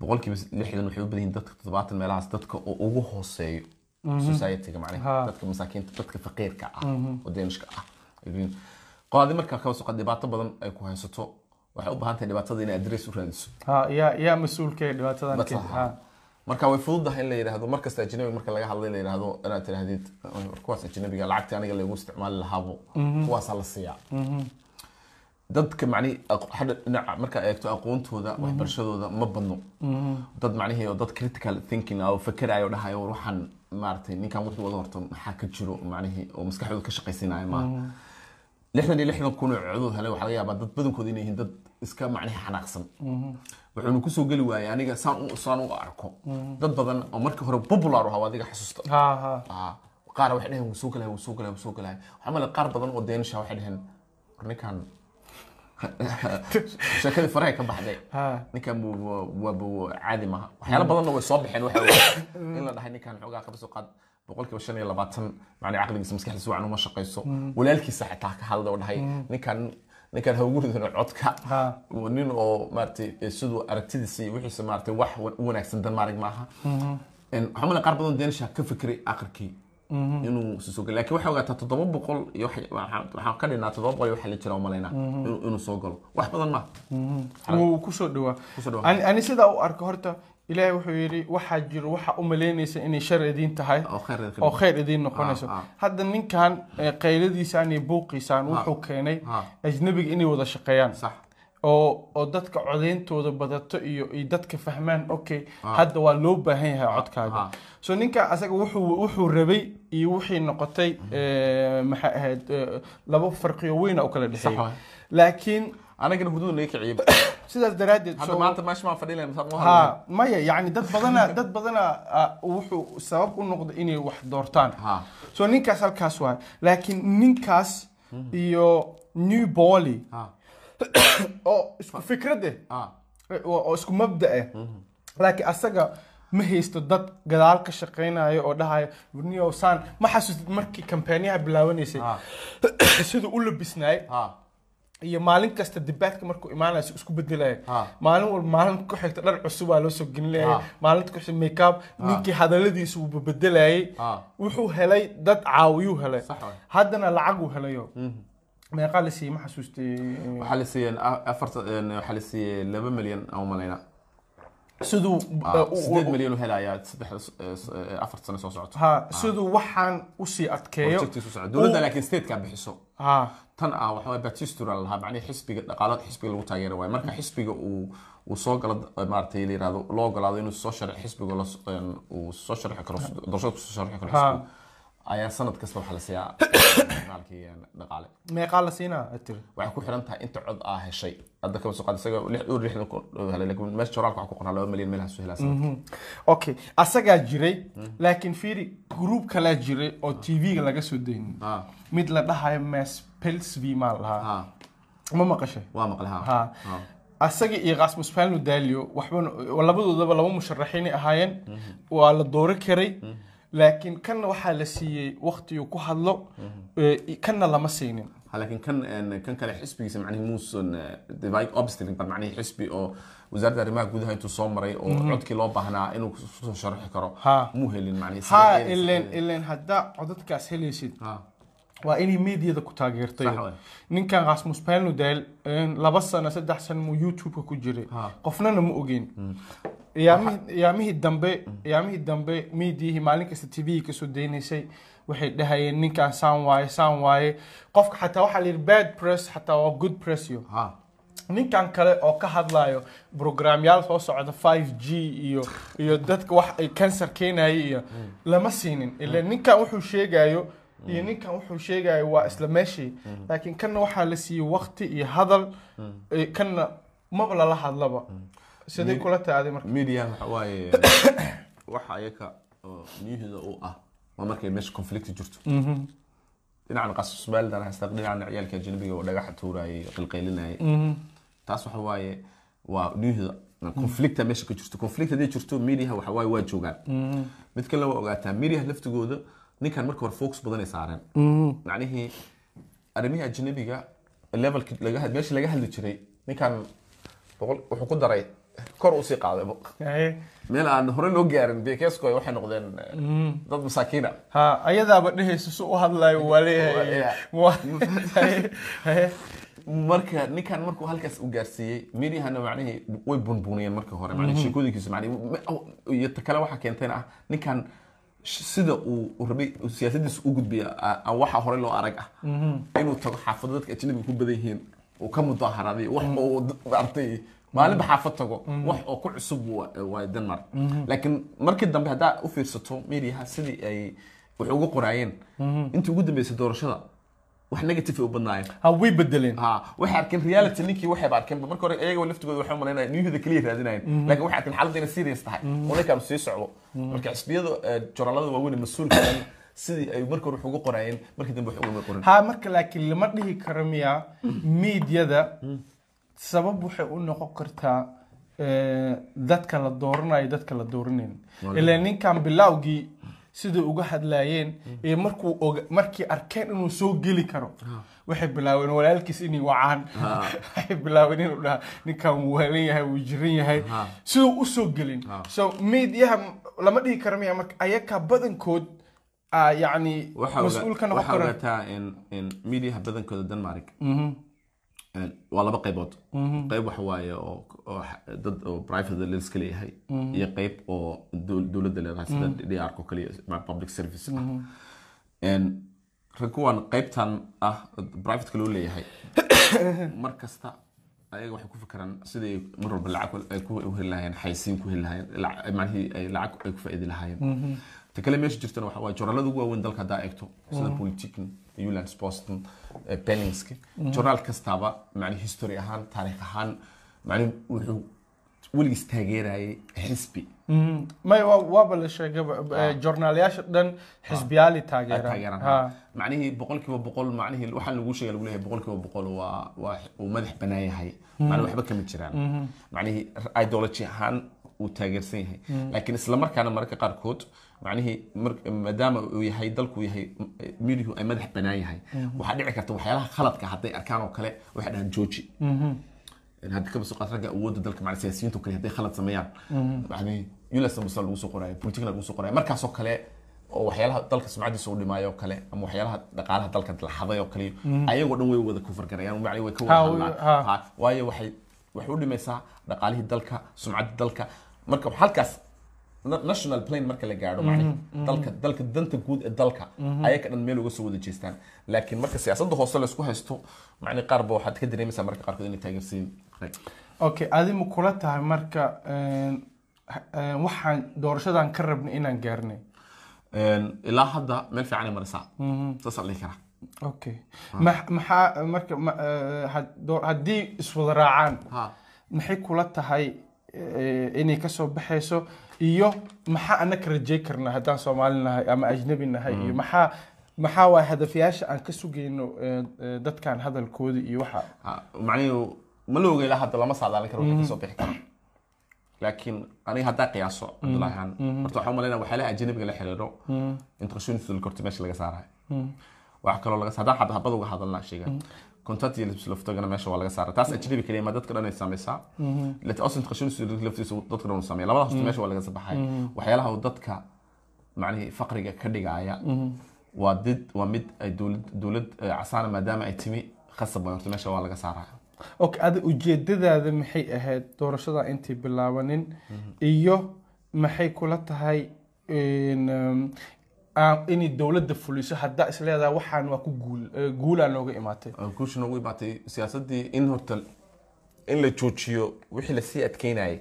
B: boqolkiiba lixdan waxay u badan yihiin dadka toddobaatan meelahaas dadka oo ugu hooseeyo societyga macnaha
A: Ha.
B: dadka masaakiinta dadka faqiirka ah oo denishka ah Yidhiin, qoladii markaa kaba soo qad dhibaato badan ay ku haysato waxay u baahan tahay dhibaatada inay adres u raadiso
A: ha yaa yaa mas-uulka ee dhibaatadan
B: Dadka,
A: keentay
B: ha.
A: ha
B: marka way fududahay in la yidhaahdo markasta ajnabiga marka laga hadlay in la yidhaahdo inaad tidhaahdid kuwaas ajnabiga lacagta aniga lagu isticmaali lahaabo kuwaasaa la siiyaa dadka macnihi aq- hadda dhinaca marka eegto aqoontooda waxbarashadooda ma badno dad macnihii oo dad critical thinking ah oo fakerayo oo dhahayo war waxaan maaragtay ninkan wuxuu wada horta maxaa ka jiro macnihii oo maskaxdooda ka shaqaysinaya maaha lixdan iyo lixdan kun oo codood hele waxaa laga yaabaa dad badankooda inay yihiin dad iska macnihi xanaaqsan wuxuuna kusoo geli waayay aniga saan u saan u arko dad badan oo markii hore popular u hawa adiga xasuusta
A: ha ha
B: Ah, qaar waxay dhaheen wuu soo galaya wuu soo galaya wuu soo galaya waxaa male qaar badan oo deenisha waxay dhaheen war ninkan sheekadii faraha ka baxday
A: ha
B: ninkan buu- waa- waa buu caadi maaha waxyaala badanna way soo baxeen waxa weeye in la dhahay ninkan xoogaa qabso qaad boqolkiiba shan iyo labaatan macni caqligiisa maskaxdiisa wacan uma shaqayso walaalkiisa xitaa ka hadlay oo dhahay ninkan ninkan ha ugu ridin codka
A: ha
B: waa nin oo maaragtay siduu aragtidiisa iyo wixiisa maaragtay wax wa- u wanaagsan Denmark maaha Een, waxaa umaleyn qaar badan Danish ka fikiray aqalkii inuu soo galo laakiin waxaa ogaataa toddoba boqol iyo wax- waxaa waxaan ka dhignaa toddoba boqol iyo wax la jira umaleynaa inuu inuu soo galo wax badan maaha
A: wuu kusoo dhawaa
B: Kusoo dhawaa.
A: ani ani sidaa u arko horta ilaahay wuxuu yidhi waxaa jiro waxaa u malaynaysa inay shar idiin tahay
B: oo khayr ay
A: oo
B: khayr
A: khayr idiin noqonayso
B: Ah, ah.
A: hadda ninkan eh, qayladiisaan iyo buuqiisaan wuxuu keenay
B: Ah.
A: ajnabiga inay wada shaqeeyaan
B: sax
A: oo oo dadka codeyntooda badato iyo iyo dadka fahmaan okay hadda waa loo baahan yahay codkaaga
B: Ah.
A: so ninka asaga wuxuu wuxuu rabay iyo wixii noqotay eh, maxay ahayd eh, laba farqiyo weyna u kala
B: Sax
A: dhexeeya
B: waay.
A: laakiin
B: anagana hudud naga kiciyey
A: sidaas daraaddeed
B: hadda
A: so-
B: maanta meesha maan fadhiin lahayn masaad ha
A: ha maya yani dad badana dad badana ah, wuxuu sabab u noqday inay wax doortaan
B: ha
A: so ninkaas halkaas waay laakiin ninkaas iyo new Oh, boly
B: ha
A: oo isku fikrade
B: ha
A: oo oo isku mabda ah laakiin asaga ma haysto dad gadaal ka shaqaynaya oo dhahaya burniyow saan ma xasuustid markii kambaaniyaha bilaabanaysay
B: Ah.
A: siduu u labisnaay
B: ها
A: iyo maalin kasta dibaadka markuu imaanayo si isku bedelaya
B: Ha.
A: maalin walba maalinta ku xigta dhar cusub aa loo soo gelinayay
B: Ha.
A: maalinta ku xigta makeup ninkii hadaladiisa uu bedelayay
B: ها
A: wuxuu helay dad caawiyuu helay
B: صح واحد.
A: haddana lacaguu helayo
B: Mhm.
A: meeqaa la siiyey ma xasuustay eh,
B: waxaa la siiyeen a- afar een, waxaa la siiyey laba milyan aan u malaynaa
A: siduu eh,
B: Ah,
A: u- u-
B: sideed milyan u helayaa saddex eh, s- eh, afar sano soo socoto
A: ha siduu waxaan usii adkeeyo
B: projectiisu socda dowladda
A: uu-
B: laakiin statekaa bixiso
A: ha
B: tan ah waxaa waye batistura la lahaa macnihii xisbiga dhaqaalada xisbiga lagu taageera waaye marka xisbiga uu uu soo galo eh, maaragtay la yirahdo loo ogolaado inuu soo shar xisbiga la s- een, uu soo sharxi karo doorashada kusoo sharxi karo
A: Ha.
B: xisbiga ayaa sanad kasta waxaa la siiyaa maalkii een, dhaqaale
A: meeqaa la siinaa atir
B: waxay ku xiran tahay inta cod aa heshay hadda kama soo qaad isaga lix dhowr lixdan kun oo helay laakiin meesha qoraalka waxaa ku qoran laba milyan meel hasuu helaa sanadka
A: okay asagaa jiray
B: Mhm.
A: laakiin fiiri gruub kalaa jiray oo tv-ga laga soo daynin
B: Ha.
A: mid la dhahayo mas pelsv maa lahaa
B: Ha,
A: ma maqashay
B: waa maqlay ha
A: Ha.
B: Ha.
A: asaga iyo qaasmus falno dalio waxban labadoodaba laba musharaxiinay ahaayeen waa la doori karay laakiin kanna waxaa la siiyey waktiguu ku hadlo ee, kanna lama siinin
B: Ha, laakiin kan een, kan kale xisbigiisa macnihii muusan divide obstacle ba macnihii xisbi oo wasaaradda arrimaha gudaha intuu soo maray oo codkii loo baahnaa inuu kusoo sharxi karo
A: Ha.
B: muu helin macnihii
A: ha
B: sidee-
A: ileen
B: sidee-
A: ileen haddaa codadkaas helaysid
B: Ha.
A: waa inay meediyada ku taageertay
B: Sax waay.
A: ninkan rasmus palnodal laba sano saddex sano muu youtubeka ku jiray
B: Ha.
A: qofnana ma ogeyn Iyaamihi- iyaamihii dambe iyaamihii dambe meediyihii maalin kasta tv kasoo daynaysay waxay dhahayeen ninkan saan waaye saan waaye qofka xataa waxaa layidhi bad press xataa waa good press iyo
B: Ha.
A: ninkan kale oo ka hadlayo brograamyaal soo socda 5g iyo iyo dadka wax ay kansar keenayay iyo lama siinin ila ninkan wuxuu sheegayo iyo ninkan wuxuu sheegayo waa isla meeshii laakiin kanna waxaa la siiyey waqti iyo hadal eh, kanna maba lala hadlaba sidee kula taadi marka
B: media waxa waaye waxa ayaga oo miyuhida u ah waa markay meesha conflict jirto dhinacan qasusmaaldan haystaq dhinacan ciyaalka ajnabiga oo dhagaxa tuurayay qilqaylinayay taas waxa waaye waa niyuhida conflicta meesha ka jirto conflict haddii jirto mediaha waxa waaye waa joogaan mid kale waa ogaataa mediaha laftigooda ninkan marka hore focus badanay saareen macnihii arrimihi ajnabiga levelka laga had- meeshii laga hadli jiray ninkan boqol wuxuu ku daray kor usii qaaday
A: Eh,
B: meel aan hore loo gaarin bksko waxay noqdeen dad masaakiina
A: ha ayadaaba dhehaysa su u hadlayo waa leeyahay
B: Yeah.
A: Waa- Eh,
B: marka ninkan markuu halkaas u gaarsiiyey midiyahana macnihii way bunbuniyeen marka hore macnihii sheekooyinkiisu macnihii ma- oh, iyo ta kale waxaa keentayna ah ninkan sh- sida uu uu rabay uu siyaasadiisa u gudbiya a- aan waxaa hore loo arag ah inuu tago xaafado dadka ajnabiga ku badan yihiin uu ka mudaharaaday wax oo artay maalinba xaafad tago wax oo ku cusub wa- waa denmark laakiin markii dambe haddaa u fiirsato midiyaha sidii ay wax uga qoraayeen intii ugu dambeysay doorashada wax negative ay u badnaayeen
A: ha way bedeleen
B: ها waxay arkeen reality ninkii waxayba arkeen marka hore iyaga laftigooda waxay umaleynaya niyuhda keliya raadinayeen laakiin waxay arkeen xaaladda inay serious tahay oo ninkaan sii socdo marka xisbiyada eh, joraalada waaweyn ee mas-uulka ah sidii ay marka hore wax uga qoraayeen markii dambe wax ugama qoran
A: ها marka laakiin lama dhihi karo miyaa miidyada sabab waxay u noqon kartaa ee, dadka la dooranayo dadka la dooranayn ilaa ninkan bilowgii siday uga hadlaayeen ee markuu oga- markii arkeen inuu soo geli karo waxay bilaabeen walaalkiis inay wacaan waxay bilaabeen inuu dhaha ninkan wuu halan yahay wuu jiran yahay
B: Ha.
A: siduu u soo gelin so miidyaha lama dhihi karo miyaa marka ayakaa badankood aa yacni mas-uul ka noqon kara
B: ogaataa in in midiyaha badankooda denmark
A: Mhm.
B: een, waa laba qaybood qayb waxa waaye oo oo xa- dad oo private la iska leeyahay iyo qayb oo dow- dowladda leedahay sida dr oo kaliya ma- public service ah Een, rag kuwan qaybtan ah private loo leeyahay mar kasta ayaga waxay ku fikiraan sidii mar walba lacag ay ku heli lahaayeen xaysiin ku heli lahaayeen lac- macnihii ay lacag ay ku faa'iidi lahaayeen ta kale meesha jirtana waxa waaye jooraalada ugu waaweyn dalka haddaa eegto sida politikin ulands boston eh, penningski jooraal kastaaba macni history ahaan taariikh ahaan macni wuxuu weligiis taageerayay xisbi
A: may waa- waaba la sheegay ba-
B: Ah.
A: eh, joornaalayaasha dhan xisbiyaali
B: aad
A: taageeraan
B: taageeraan
A: Ha.
B: macnihii boqolkiiba boqol macnihii waxaa lagu sheega lagu leeyahay boqolkiiba boqol waa waa uu madax banaan yahay macnii waxba kama jiraan macnihii ideology ahaan uu taageersan yahay laakiin isla markaana mararka qaarkood macnihii mar- maadaama uu yahay dalku yahay midihu ay madax banaan yahay waxaa dhici karta waxyaalaha khaladka hadday arkaan oo kale waxay dhahaan jooji hadda kaba soo qaad ragga awoodda dalka macna siyaasiyiintu kale hadday khalad sameeyaan macnii ulasn basa lagu soo qoraayo politicna lagu soo qoraayo markaasoo kale oo waxyaalaha dalka sumcadiisa u dhimaayo oo kale ama waxyaalaha dhaqaalaha dalka laxaday oo kale ayagoo dhan way wada kufargarayaan macni way ka wada
A: Ha, way-
B: hadlaan
A: ha.
B: Ha, waayo waxay waxay u dhimaysaa dhaqaalihii dalka sumcadda dalka marka halkaas na- national plane marka la gaadho macni dalka dalka danta guud ee dalka ayay ka dhan meel uga soo wada jeestaan laakiin marka siyaasadda hoose la isku haysto macni qaarba waxaad ka dareemaysaa marka qaarkood inay taageersiin rag
A: okay adi ma kula tahay marka een, ha- een, waxaan doorashadan ka rabnay inaan gaarnay
B: Een, ilaa hadda meel fiicanay marisaa saasaan dhihi karaa
A: okay Ma- maxaa marka ma- eh, had- door- haddii iswada raacaan
B: ha
A: maxay kula tahay eh, inay kasoo baxayso iyo maxaa anaka rajay karnaa haddaan soomaali nahay ama ajnabi nahay iyo maxaa maxaa waay hadafyaasha aan ka sugayno eh, eh, dadkan hadalkooda iyo waxa
B: Ha, macnihi ma la oga ilaa hadda lama saadaalin karo wixii kasoo bixi kara laakiin aniga haddaa qiyaaso cabdullaahan horta waxaa umalaynaa waxyaalaha ajanabiga la xiriiro intrashonisul korti meesha laga saarayo waxaa kaloo laga sa- haddaan xabda habada uga hadalnaa sheegan kontat iyo laftoogana meesha waa laga saara taas ajnabi kaliya ma dadka dhan ay saameysaa
A: Mm-hmm.
B: laos intrashonisul laftiisa dadka dhan u saameya labada hosto meesha waa laga sabaxay waxyaalaha uu dadka macnihi faqriga ka dhigaaya waa did waa mid ay dowlad dowlad eh, casaana maadaama ay timi khasab waa horta meesha waa laga saaraa
A: okay ada ujeedadaada maxay ahayd doorashadan intay bilaabanin iyo maxay kula tahay in, um, aan- inay dowladda fuliso haddaa isleedaha waxaan waa ku guul eh, guulaa nooga imaatay
B: guusha noogu imaatay siyaasaddii in horta in la joojiyo wixii lasii adkeynayay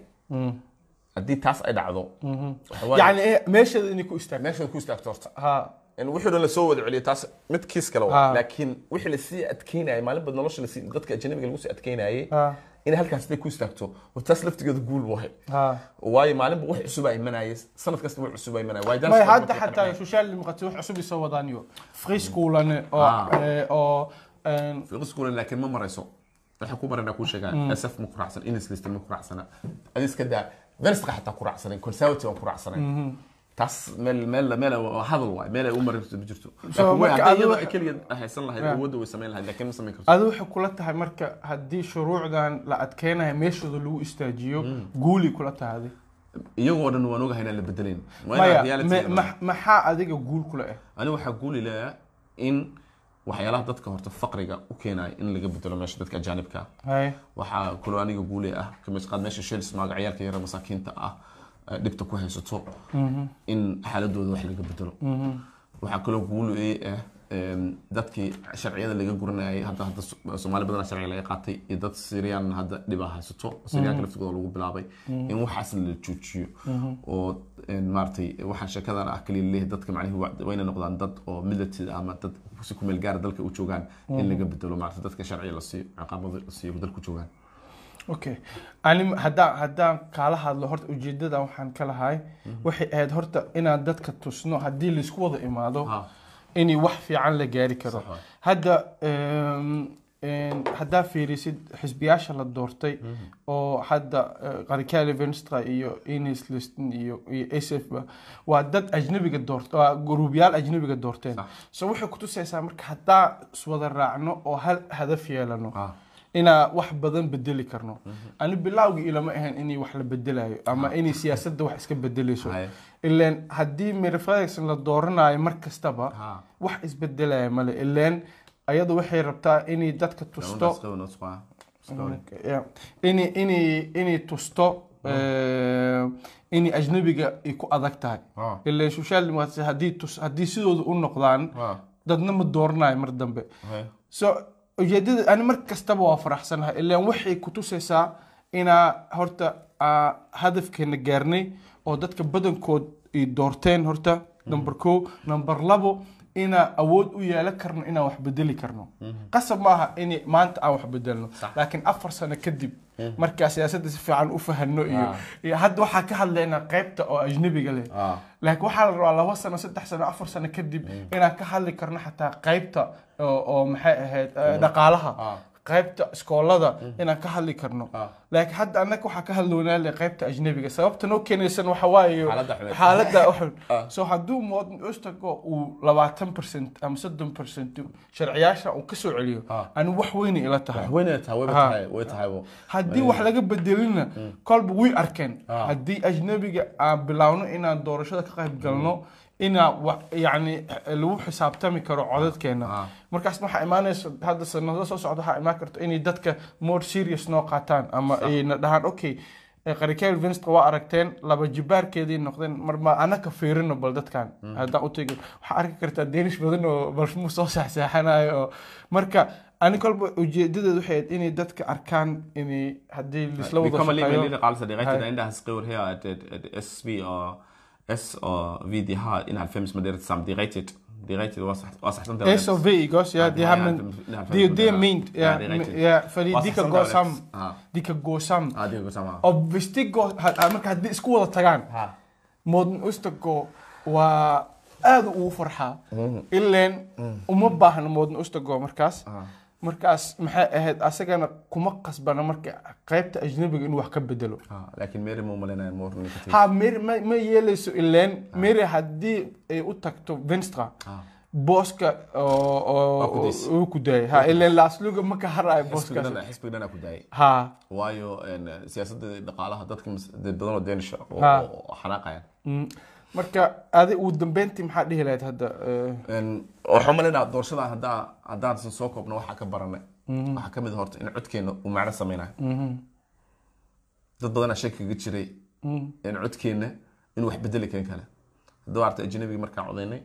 B: haddii taas ay dhacdo waxa waaye-
A: Mm. yacni eh, meesheeda inay ku istaagto
B: meesha ku istaagto horta
A: ha
B: in wixii dhan lasoo wada celiyo taas mid kiis kale
A: Ah.
B: waa laakiin wixii lasii adkeynayay maalin bad nolosha lasii dadka ajanabiga lagu sii adkeynayay
A: Ah.
B: in halkaas day ku istaagto waa taas laftigeeda guul wahay
A: ha
B: waayo maalinba wax cusub ay imanayay sanad kasta wax cusub ay imanayay waayo
A: may
B: dance
A: hadda
B: markay
A: xataa
B: qanaceen.
A: shushaal limuqato wax cusub isoo wadaaniyo friiskuulane oo
B: Ah.
A: eh, oo um, een,
B: fiqiskuulan laakiin ma marayso waxay ku marayna kuu sheegaan sf ma ku raacsan inislist ma ku raacsana adi iska daa venstka xataa ku raacsanayn conservative aan ku raacsanayn taas meel meel meel waa hadal waay meel ay u marin ma jirto laakiin way
A: marka
B: haddii
A: adigu-
B: iyada ay keliya haysan lahayd
A: Yeah.
B: awoodda way samayn lahayd laakiin ma samayn karto
A: adu waxay kula tahay marka haddii shuruucdan la adkeenayo meeshooda lagu istaajiyo guulay kula tahay adi
B: iyagoo dhan waan ogahay inaan la bedelayn Waa inaan
A: maya
B: reality
A: ma-
B: la-
A: ma- maxaa adiga guul kula ah
B: aniga waxaa guuli leeya in waxyaalaha dadka horta faqriga u keenaya in laga bedelo meesha dadka ajaanibka ah
A: hay
B: waxaa kaloo aniga guule ah kamisqaad meesha shels maaga ciyaalka yara masaakiinta ah eh, dhibta ku haysato in xaaladooda wax laga bedelo waxaa kaloo guule ah em, dadkii sharciyada laga guranayay hadda hadda So- soomaali badan sharciga laga qaatay iyo dad siriyaan hadda dhibaa haysato siriyaanka laftigooda lagu bilaabay in waxaas la joojiyo oo en, maaragtay waxaan sheekadan ah kaliya leeyahay dadka macnihi wa- wayna noqdaan dad oo military ama dad si ku meel gaara dalka u joogaan in laga bedelo maaragtay dadka sharciga la siiyo ciqaabada la siiyo dalku joogaan
A: okay ani haddaan haddaan kaala hadlo horta ujeedadan waxaan ka lahay waxay ahayd horta inaan dadka tusno haddii laisku wada imaado
B: Ha.
A: inay wax fiican la gaari karo
B: Sax waay.
A: hadda em, em, haddaa fiirisid xisbiyaasha la doortay oo hadda eh, qarikaali venstra iyo ines liston iyo iyo sf ba waa dad ajnabiga doort waa guruubyaal ajnabiga doorteen
B: Sax.
A: so waxay kutusaysaa marka haddaa iswada raacno oo hal hadaf yeelano
B: Ah.
A: inaa wax badan bedeli karno ani bilaawgii ilama ahayn inay wax la bedelayo ama inay siyaasadda wax iska bedeleyso
B: Haye.
A: ileen haddii mary fredrickson la dooranayo mar kastaba
B: Ha.
A: wax isbedelaya male ileen ayadu waxay rabtaa inay dadka tusto Mm,
B: Stop.
A: Yeah. inay inay inay tusto eh, inay ajnabiga ay ku adag tahay
B: Ha.
A: ileen social democracy haddii tus- haddii sidooda u noqdaan
B: Ha.
A: dadna ma dooranayo mar dambe
B: Haye.
A: so ujeedada ani mar kastaba waa faraxsanahay ilaan waxay ku tusaysaa inaa horta aa, hadafkeena gaarnay oo dadka badankood ay doorteen horta number kow number labo inaa awood u yeelan karno inaan wax bedeli karno qasab ma aha in maanta aan wax bedelno laakiin afar sano kadib markaa siyaasadda si fiican u fahanno iyo iyo hadda waxaa ka hadlaynaa qaybta oo ajnabiga leh laakiin waxaa la rabaa laba sano saddex sano afar sano kadib inaan ka hadli karno xataa qaybta oo oo maxay ahayd eh, dhaqaalaha qaybta iskoolada inaan ka hadli karno laakiin hadda annaga waxaa ka hadlownaa le qaybta ajnabiga sababta noo keenaysan waxa waaye
B: Xaaladda xun.
A: xaaladda xun soo hadduu muwadin ustago uu labaatan percent ama soddon percent sharciyaasha uu ka soo celiyo anu wax weyna ila tahay
B: waxweyna tahay wayba
A: Haa.
B: tahay way tahay bo
A: haddii wax laga bedelina kolba way arkeen haddii ajnabiga aan bilaawno inaan doorashada ka qayb galno inaan wa- yacni lagu xisaabtami karo codadkeena markaas waxaa imaanaysa hadda sanado soo socda waxaa imaan karta inay dadka more serious noo qaataan ama ayna dhahaan okay eh, qarikeel vinstka waa aragteen laba jibaarkeedii noqdeen marma anaka fiirino bal dadkan haddaan u tegi waxaa arki kartaa danish badan oo balfimuu soo saxsaaxanayo oo marka ani kolba ujeedadeed waxay ahayd inay dadka arkaan inay haddii laisla wada
B: become a leader,
A: shaqeeyo
B: leader قال صديقي
A: Hi.
B: تدا عندها صغير هي at- at اس بي او اس او في دي ها انها الفيمس مدير سام دي ريتد دي ريتد واصح واصح تنتهي
A: s o v igos ya they haven't Ah, they they meant ya ya fali dika goosam dika goosam
B: اه دي قسام
A: obviously go had- uh, marka haddii isku wada tagaan
B: ها
A: modern ustago waa aad ugu farxaa ileen uma baahna modern ustago markaas markaas maxay ahayd asagana kuma qasbana marka qaybta ajnabiga inuu wax ka bedelo
B: ها لكن ميري مو ملنا مور كثير
A: ha mary ma ma yeelayso ileen mary haddii ay u tagto venstra
B: ها
A: booska oo- oo-
B: Waa ku daysa.
A: oo uu ku daayay ha ileen laasluga ma ka haraayo
B: حسبك
A: booskaas
B: انا حسبك انا كداي
A: ha
B: وايو ان سياسه دقالها ددك مس- dad badan oo danish
A: Haa.
B: oo xanaaqaya
A: Mm. marka adi ugu dambeyntii maxaa dhihi lahayd hadda Eh,
B: waxaan malinaa doorashada haddaa haddaan san soo koobno waxaa ka baranay waxaa ka mid ah horta in codkeena uu macno samaynayo dad badanaa shaki kaga jiray in codkeena inuu wax bedeli kan kale hadduu arta ajnabiga markaan codaynay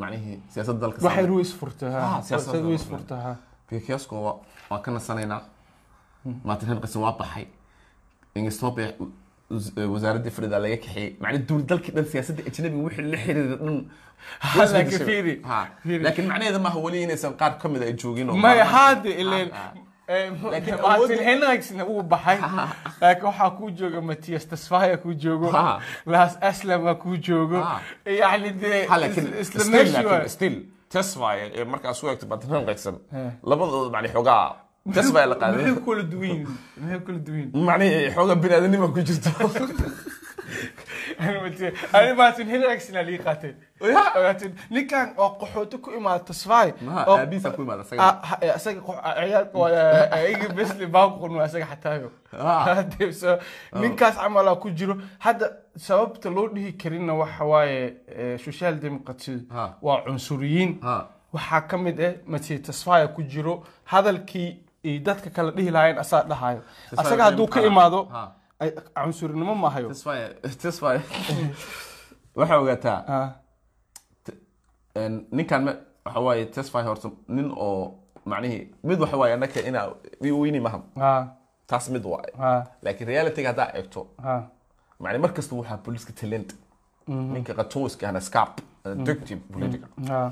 B: macnihii siyaasadda dalka
A: waxay
B: saameyn-
A: ruis furtaa ha
B: Ah, siyaasad
A: waxay ruis
B: dalka.
A: furtaa ha
B: Picasso waa waa ka nasanaynaa maatin hanqasan waa baxay ingestoobe wasaaraddii fadhidaa laga kaxeeyey macnaa duul dalkii dhan siyaasadda ajnabiga wixii la xiriira dhan
A: Ha, laakiin
B: isbedeshay.
A: fiiri,
B: Ha,
A: fiiri.
B: laakiin macnaheeda maaha weli inaysan qaar ka mid ay joogin oo
A: maya
B: maalmaha-
A: haade ileen
B: Ha, ha.
A: eh, martin
B: Laakiin awoodda-
A: henriksna wuu baxay laakiin waxaa kuu jooga matias tasfaya kuu joogo
B: Ha.
A: laas aslama kuu joogo
B: Ha.
A: yacni dee
B: Ha, laakiin
A: is- isla
B: still-
A: meeshii
B: laakiin
A: waay.
B: still Tesfaye ee markaas u eegto maatin hanqaysan
A: He.
B: labadooda macni xoogaa Tesfaye la qaaday
A: maxay kula duwan yihiin? maxay kula duwan yihiin?
B: macnihii xoogaa biniaadanima ku jirto
A: Ani Matias- ani martin henriksna lii qaatay
B: Ya.
A: Martin, ninkan oo qaxooti ku imaada tasfaya
B: maha
A: oo-
B: aabihiisa ku imaada isaga
A: Ah, ah, isaga qof- ah, ciyaalka waa- ah, iga basli baan ku qunaa isaga xataayo.
B: Ah.
A: Hadee, so, ninkaas camalaa ku jiro hadda sababta loo dhihi karina waxa waaye eh, social democracy
B: Ah.
A: waa cunsuriyiin
B: Ah.
A: waxaa ka mid ah mati tasfaya ku jiro hadalkii ay dadka kale dhihi lahaayeen asaa dhahayo
B: Tesfaye
A: asaga hadduu ka
B: ah.
A: imaado
B: Ah.
A: ay- cunsurinimo maahayo
B: Tesfaye Tesfaye waxaa ogaataa
A: Ah,
B: een, ninkan ma- waxa waaye Tesfaye horta nin oo macnihii mid waxa waaye annaka inaa i weyni maha
A: ah,
B: taas mid waaye
A: ah,
B: laakiin realityga haddaa eegto
A: ah.
B: macni mar kasta waxaa booliiska talent ninka qatooska hana scarp addictive politica
A: Ah.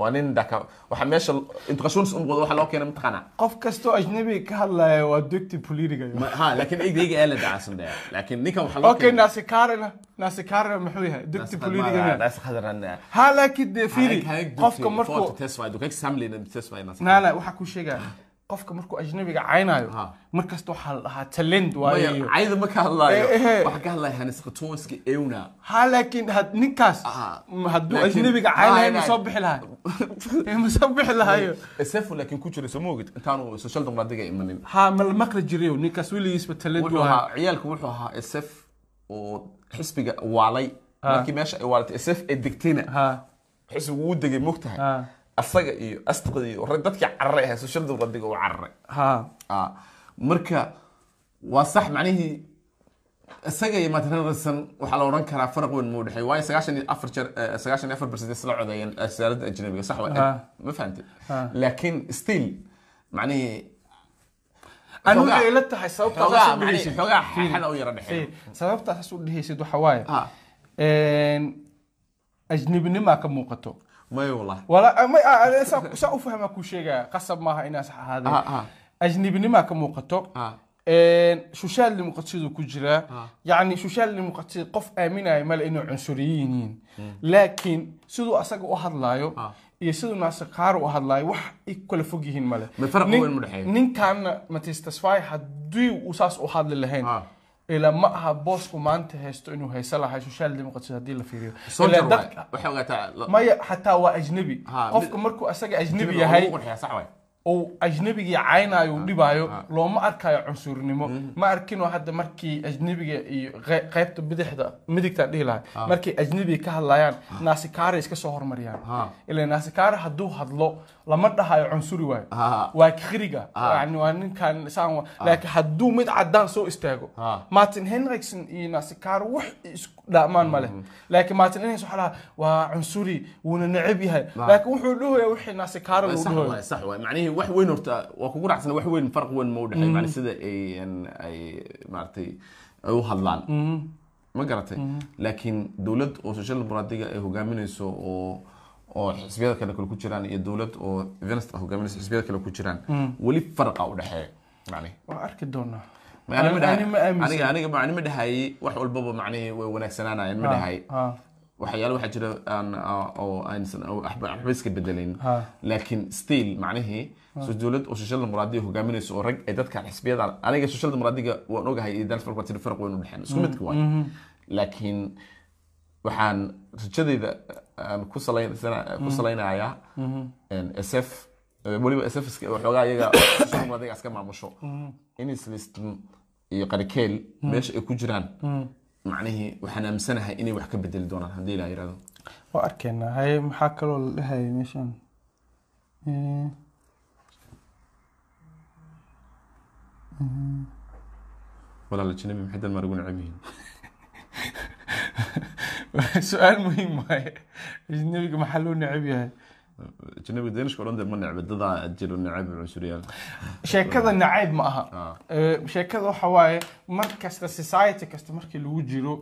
B: waa nin dhaka waxa meesha intu qashuunis u muuqdo waxa loo keenay mataqaanaa
A: qof kastoo ajnabiga ka hadlaya waa dugti politiga
B: ha laakiin eygayga ee la dacaasan daya laakiin ninkan waxaa loo
A: اوكي ناسي كارنا ناسي كارنا محو يها دكتي بوليتيكا
B: eh.
A: ها لكن دي فيري قفك مركو لا لا waxaa ku sheegaa qofka markuu ajnabiga caynaayo
B: Ha.
A: markasta waxaa la dhahaa talent waaye iyo-
B: cayda ma ka hadlaayo
A: Eh, eh.
B: waxaa ka hadlaya hanis qatooska euna
A: ha laakiin had- ninkaas
B: Ah.
A: m- hadduu
B: Laakiin-
A: ajnabiga
B: Ma,
A: caynayo
B: ma-
A: ma soo bixi lahay Eh, ma soo bixi lahayo
B: sefo laakiin ku jira soo moogid intaanu social democratic imanin
A: ha ma la maqli jirayo ninkaas weligiisba talent
B: wuxuu
A: waa
B: ahaa ciyaalku wuxuu ahaa sf oo xisbiga waalay markii meesha ay waalatay sf ee degtayna
A: ha
B: xisbigu wuu degay mogtahay
A: Ah.
B: asaga iyo asdiqda iyo rag- dadkii cararay ahaa social democratic uu cararay
A: ha
B: Ah, marka waa sax macnihii isaga iyo Martin Henderson waxaa la odhan karaa faraq weyn muu dhexeey waayo sagaashan iyo afar jeer eh, sagaashan iyo afar percent isla codeeyeen eh, siyaaradda ajnabiga sax waa
A: Ah.
B: ma fahantay laakiin still macnihii
A: anu
B: Xoogaa-
A: waxay ila tahay sababta
B: xoogaa,
A: aad u
B: macnihii,
A: dhehaysid.
B: xoogaa xana u yara dhexeeya
A: Eh, sababta aad u dhehaysid waxa waaye
B: Ha.
A: een, ajnibinimaa ka muuqato
B: ماي والله
A: ولا ما أنا سا سا أفهم أكو شيء قصب معها إناس هذا
B: ها
A: أجنبي نما كموقتو
B: ها
A: een shushaal li muqadshidu ku jira
B: Ah.
A: yacni shushaal li muqadshid qof aaminaya male inuu cunsuriyiin yihiin laakiin siduu asaga u hadlaayo
B: Hmm. Ah.
A: iyo siduu naasir kaar u hadlaayo wax ay ku kala fog yihiin male
B: Ma faraq
A: Nin-
B: weyn ma dhexeeyo?
A: ninkaanna matis tasfay haddii uu saas u hadli lahayn
B: Ah.
A: ila ma aha boosku maanta haysto inuu haysa lahay shushaal li muqadshid haddii la fiiriyo
B: soo
A: Ilaa
B: jar waay waxay ogaataa la-
A: maya xataa waa ajnabi
B: Ah,
A: qofka markuu asaga
B: jilibka
A: ajnabi
B: ugu
A: yahay
B: qurxiyaa, sax waay
A: uu ajnabigii caynaayo uu dhibaayo
B: ah.
A: looma arkayo cunsurnimo ma arkinoo hadda markii ajnabiga iyo qey- qaybta bidixda midigta dhihi lahay markay ajnabiga ka hadlayaan naasikaaray iska soo
B: Ah.
A: hormariyaan ila naasikaare hadduu hadlo lama dhahayo cunsuri waayo
B: Ah.
A: waa khiriga
B: Ah.
A: yani waa ninkan saan wa- laakiin hadduu mid caddaan soo istaago
B: Ah.
A: martin henrikson iyo naasikaare wax isku dhaamaan male laakiin martin henrikson waxaa lahaa waa cunsuri wuuna necab yahay laakiin wuxuu dhahaya wixii naasikaare luu
B: sax
A: dhahayo
B: waay sax waay macnihii wax weyn horta waa kugu raacsana wax weyn farq weyn ma u dhexeeyo macni sida ay an- ay maaragtay ay u hadlaan ma garatay laakiin dowlad oo social dimuqraadiga ay hogaaminayso oo oo xisbiyada kale kale ku jiraan iyo dowlad oo evenist ah hogaaminayso xisbiyada kale ku jiraan weli farqa u dhexeeya macnihi
A: waan arki doonaa
B: Ma- ani ma dhahay-
A: Ani ma aaminsan.
B: aniga aniga macni ma dhahayay wax walbaba macnihii way wanaagsanaanayeen ma dhahay
A: Ha,
B: waxyaalo waxaa jira aan aa- oo aynsan oo waxba waxba iska bedelayn
A: ha.
B: laakiin still macnihii so dowlad oo social dimuqraadiga hogaaminayso oo rag ay dadka xisbiyada aniga social dimuqraadiga waan ogahay iyo dance party farq weyn u dhexeyn isku midka waay laakiin waxaan rajadayda aan ku salaynasana ku salaynayaa een sf eh, weliba sf iska- waxoogaa iyaga social dimuqraadiga iska maamusho inisliston iyo qarikeel meesha ay ku jiraan macnihii waxaan aamsanahay inay wax ka bedeli doonaan haddii la yidhahdo
A: waa arkaynaa haye maxaa kaloo la dhahayay meeshan Eh,
B: walaala janabi maxay dalmaar ugu necab yihiin
A: su-aal muhiim waaye ajnabiga maxaa loo necab yahay
B: janabiga daniska odhan dee ma necbe dadaa jiro necab cunsuriyaal
A: sheekada nacayb ma
B: Ah.
A: aha Eh, sheekada waxa waaye mar kasta society kasta markii lagu jiro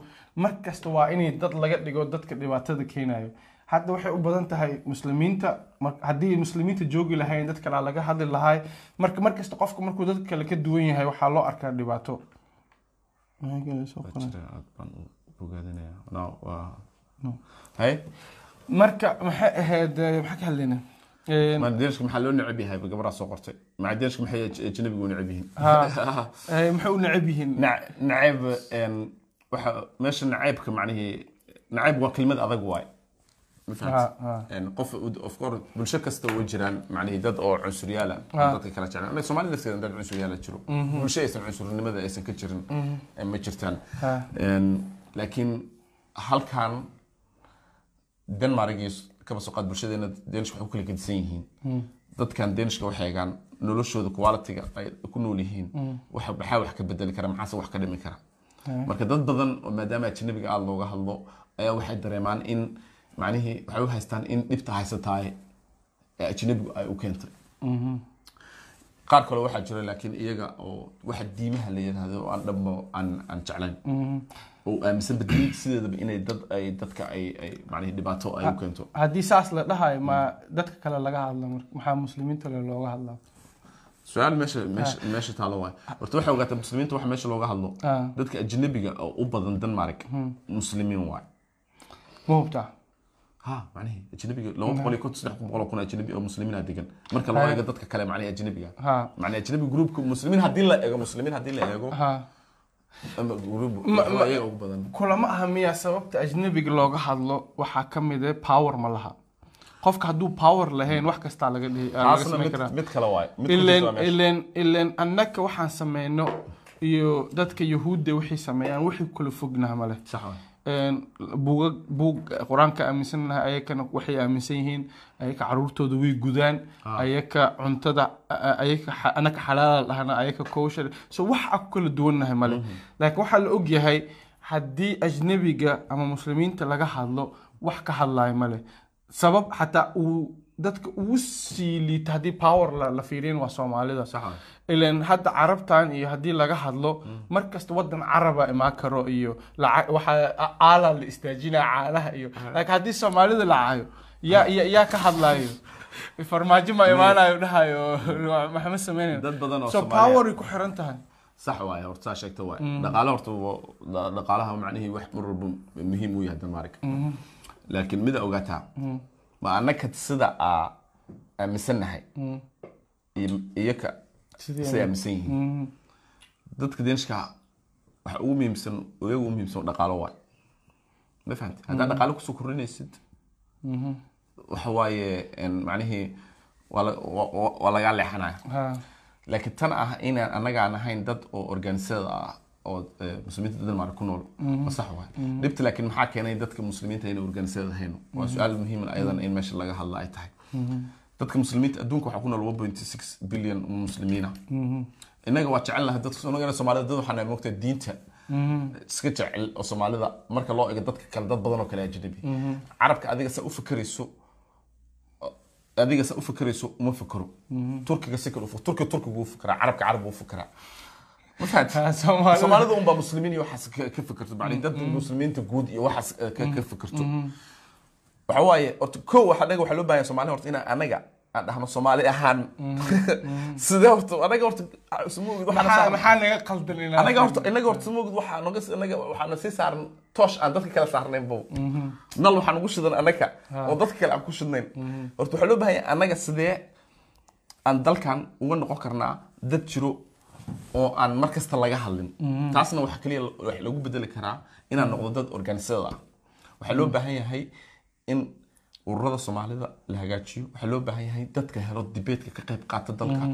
A: mar kasta waa inay dad laga dhigo dadka dhibaatada keenayo hadda waxay u badan tahay muslimiinta mar- haddii muslimiinta joogi lahayn dad kalea laga hadli lahay marka mar kasta qofku markuu dad kale ka duwan yahay waxaa loo arkaa dhibaato
B: Waa jira aad baan u bogaadinayaa No, waa- hay
A: marka maxay ahayd eh, maxaa ka hadlaynaa Een,
B: ma daniska maxaa loo necab yahay ba gabadhaa soo qortay maca daniska maxay j- janabiga u necab yihiin
A: Ha. eh, maxay u necab yihiin
B: Nac- nacayb een, waxa meesha nacaybka macnihii nacayb waa kelmad adag waay ma fahamtid?
A: Ha, ha.
B: Een, qof of course bulsho kasta way jiraan macnihii dad oo cunsuryaal ah oo dadka kala jeclaan Aniga Soomaali lafteeda dad cunsuryaal ah jiro bulsho aysan cunsurnimada aysan ka jirin ee ma jirtaan
A: Ha.
B: Een, laakiin halkan Denmark iyo kaba soo qaad bulshadeena Danish waxay u kala gedisan yihiin dadkan Danishka waxay eegaan noloshooda quality-ga ay ku nool yihiin waxa maxaa wax ka bedeli kara maxaase wax ka dhimi kara marka dad badan oo maadaama ajnabiga aad looga hadlo ayaa waxay dareemaan in macnihii waxay u haystaan in dhibta haysatahay ee ajnabigu ay u keentay
A: Mhm.
B: qaar kale waxaa jira laakiin iyaga oo waxa diimaha la yidhaahdo oo aan dhammo aan aan jeclayn oo aaminsan badbaadi sideedaba inay dad ay dadka ay ay macnihii dhibaato ay u keento
A: haddii saas la dhahayo ma dadka kale laga hadla marka maxaa muslimiinta le looga hadlaa
B: su-aal meesha meesha meesha taalo waay horta waxay ogaataa muslimiinta waxa meesha looga hadlo
A: Ah.
B: dadka ajnabiga oo u badan denmark muslimiin waay
A: ma hubtaa
B: ha macnihi ajnabiga laba boqol iyo konton saddex boqol oo kun ajnabi oo muslimiina degan marka loo eego dadka kale macnihi ajnabiga
A: ha
B: macni ajnabiga gruubka muslimiin haddii la eego muslimiin haddii la eego
A: ha
B: ama gruub
A: Ma- ma-
B: waa iyaga ugu badan
A: kulama aha miyaa sababta ajnabiga looga hadlo waxaa ka mid ah power ma laha qofka hadduu power lahayn wax kastaa laga dhihi laga
B: taasna
A: samayn karaa
B: mid mid kale waay mid
A: ileen
B: kale
A: ileen ileen annaka waxaan sameyno iyo dadka yahuudda waxay sameeyaan waxay kula fognaha ma leh
B: sax waay
A: Een, buugag buug qur-aanka aaminsan lahaa ayakana waxay aaminsan yihiin ayaka caruurtooda way gudaan ayaka cuntada a- ayaka xa- anaka xalaala dhahna ayaka kowshar so wax a ku kala duwannahay male laakiin waxaa la ogyahay haddii ajnabiga ama muslimiinta laga hadlo wax ka hadlayo male sabab xataa uu dadka ugu sii liita haddii power la, la fiiriyin waa soomaalida ilan hadda carabtan iyo haddii laga hadlo
B: Hmm.
A: mar kasta wadan caraba imaan karo iyo laca- waxaa a- caala la istaajinaya caalaha iyo laakiin haddii soomaalida la caayo yaa yaa- yaa ka hadlaayo farmaajo ma imaanayo dhahayo maxma sameynaya
B: dad badan oo
A: so
B: Soomaaliya-
A: poweray ku xiran tahay
B: صح واي horta saa sheegta waay dhaqaale horta wa- dha- dhaqaalaha macnihii wax marwalba muhiim u yahay Denmark laakiin mida ogaataa ma annaka sida aa aaminsanahay iyaka
A: Sidii
B: sida aaminsan
A: Mm-hmm.
B: yihiin dadka denishka waxa ugu muhiimsan iyaga ugu muhiimsan dhaqaalo waay ma fahamtay haddaad dhaqaale kusoo kordhinaysid
A: Mm-hmm.
B: waxa waaye en, macnihii waa la- waa- waa- waa lagaa leexanaya
A: Ha.
B: laakiin tan ah inaan annaga aan ahayn dad oo organizada ah oo eh, muslimiinta denmark ku nool ma sax waay dhibta laakiin maxaa keenay dadka muslimiinta inay organizada ahayn waa su-aal muhiim ayadana in meesha laga hadla ay tahay dadka muslimiinta adduunka waxaa ku nool 1.6 bilyan muslimiina innaga waa jecelnahay dadka innagana soomaalida dad waxaan moogtaa diinta iska jecel oo soomaalida marka loo ego dadka kale dad badan oo kale ajnabi carabka adiga sa u fikirayso adiga sa u fikirayso uma fikiro turkiga si kale u fikiro turkiga turkigu u fikiraa carabka carabgu u fikiraa ma fahanti
A: Ha, soomaalida-
B: soomaalida unbaa muslimiin iyo waxaas ka ka fikirto macnii dad muslimiinta guud iyo waxaas eh, ka ka fikirto waxa waaye horta kow waxa anaga waxaa loo baahan yahay soomaalida horta inaan anaga aan dhahno soomaali ahaan sidee horta anaga horta isma ogid waxaana
A: maxaa
B: saaran
A: maxaa naga qaldan inaan
B: anaga horta inaga horta isma ogid waxaa naga anaga waxaana sii saaran toosh aan dadka kala saarnayn bow nal waxaan ugu shidan anaga oo dadka kale aan ku shidnayn horta waxaa loo baahan yahay anaga sidee aan dalkan uga noqon karnaa dad jiro oo aan mar kasta laga hadlin taasna waxa kaliya wax lagu bedeli karaa inaan noqdo dad organizada ah waxaa loo baahan yahay in ururada soomaalida la hagaajiyo waxaa loo baahan yahay dadka helo dibeedka ka qayb qaata dalka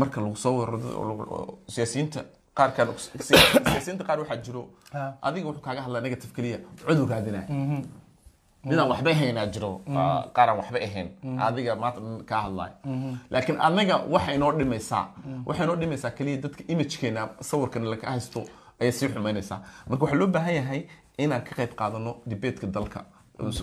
B: marka lagu soo weeraro dad- oo lagu- oo siyaasiyiinta qaarkan siyaasiyiinta qaar waxaa jiro
A: Ha.
B: adiga wuxuu kaaga hadlaa negative kaliya cudur raadinaya midaan waxba ahaynaa jiro aa, qaaraan waxba ahayn adiga maanta dhan kaa hadlaaya laakiin anaga waxay noo dhimaysaa waxay noo dhimaysaa keliya dadka imagekeena sawirkan laka haysto ayay sii xumaynaysaa marka waxaa loo baahan yahay inaan ka qayb qaadano dibeetka dalka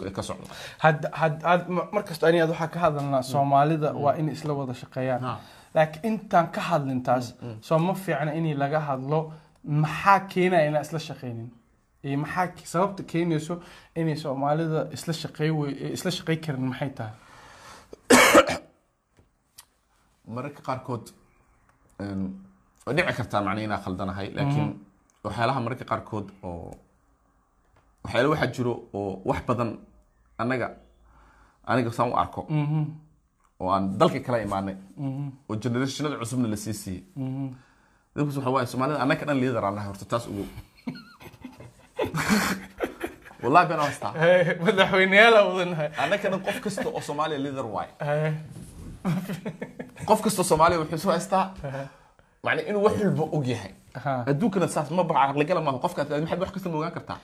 B: ee ka socdo
A: hadda had- had- ma- mar kasta ani aad waxaa ka hadalnaa soomaalida waa inay isla wada shaqeeyaan
B: Ha.
A: laakiin intaan ka hadlin taas soo ma fiicna inay laga hadlo maxaa keenaya inaan isla shaqeynin iyo maxaa ke- sababta keenayso inay soomaalida isla shaqey wey- isla shaqey karin maxay tahay
B: mararka qaarkood een, way dhici kartaa macnii inaa khaldanahay laakiin waxyaalaha mararka qaarkood oo waxyaala waxaa jiro oo wax badan anaga aniga saan u arko oo aan dalka kala imaanay oo generationada cusubna la sii siiyey dadkus waxa waaye soomaalida annaga dhan liidar aan nahay horta taas ugu wallahi been haystaa
A: madaxweyneyaala wadanahay
B: annaga dhan qof kasta oo soomaaliya liidar waaye qof kasta soomaaliya wuxuu soo haystaa macnaa inuu wax walba og yahay
A: Aha.
B: adduunkana saas ma baxa aqligala maaha qofka maxaad wax kasta moogaan kartaa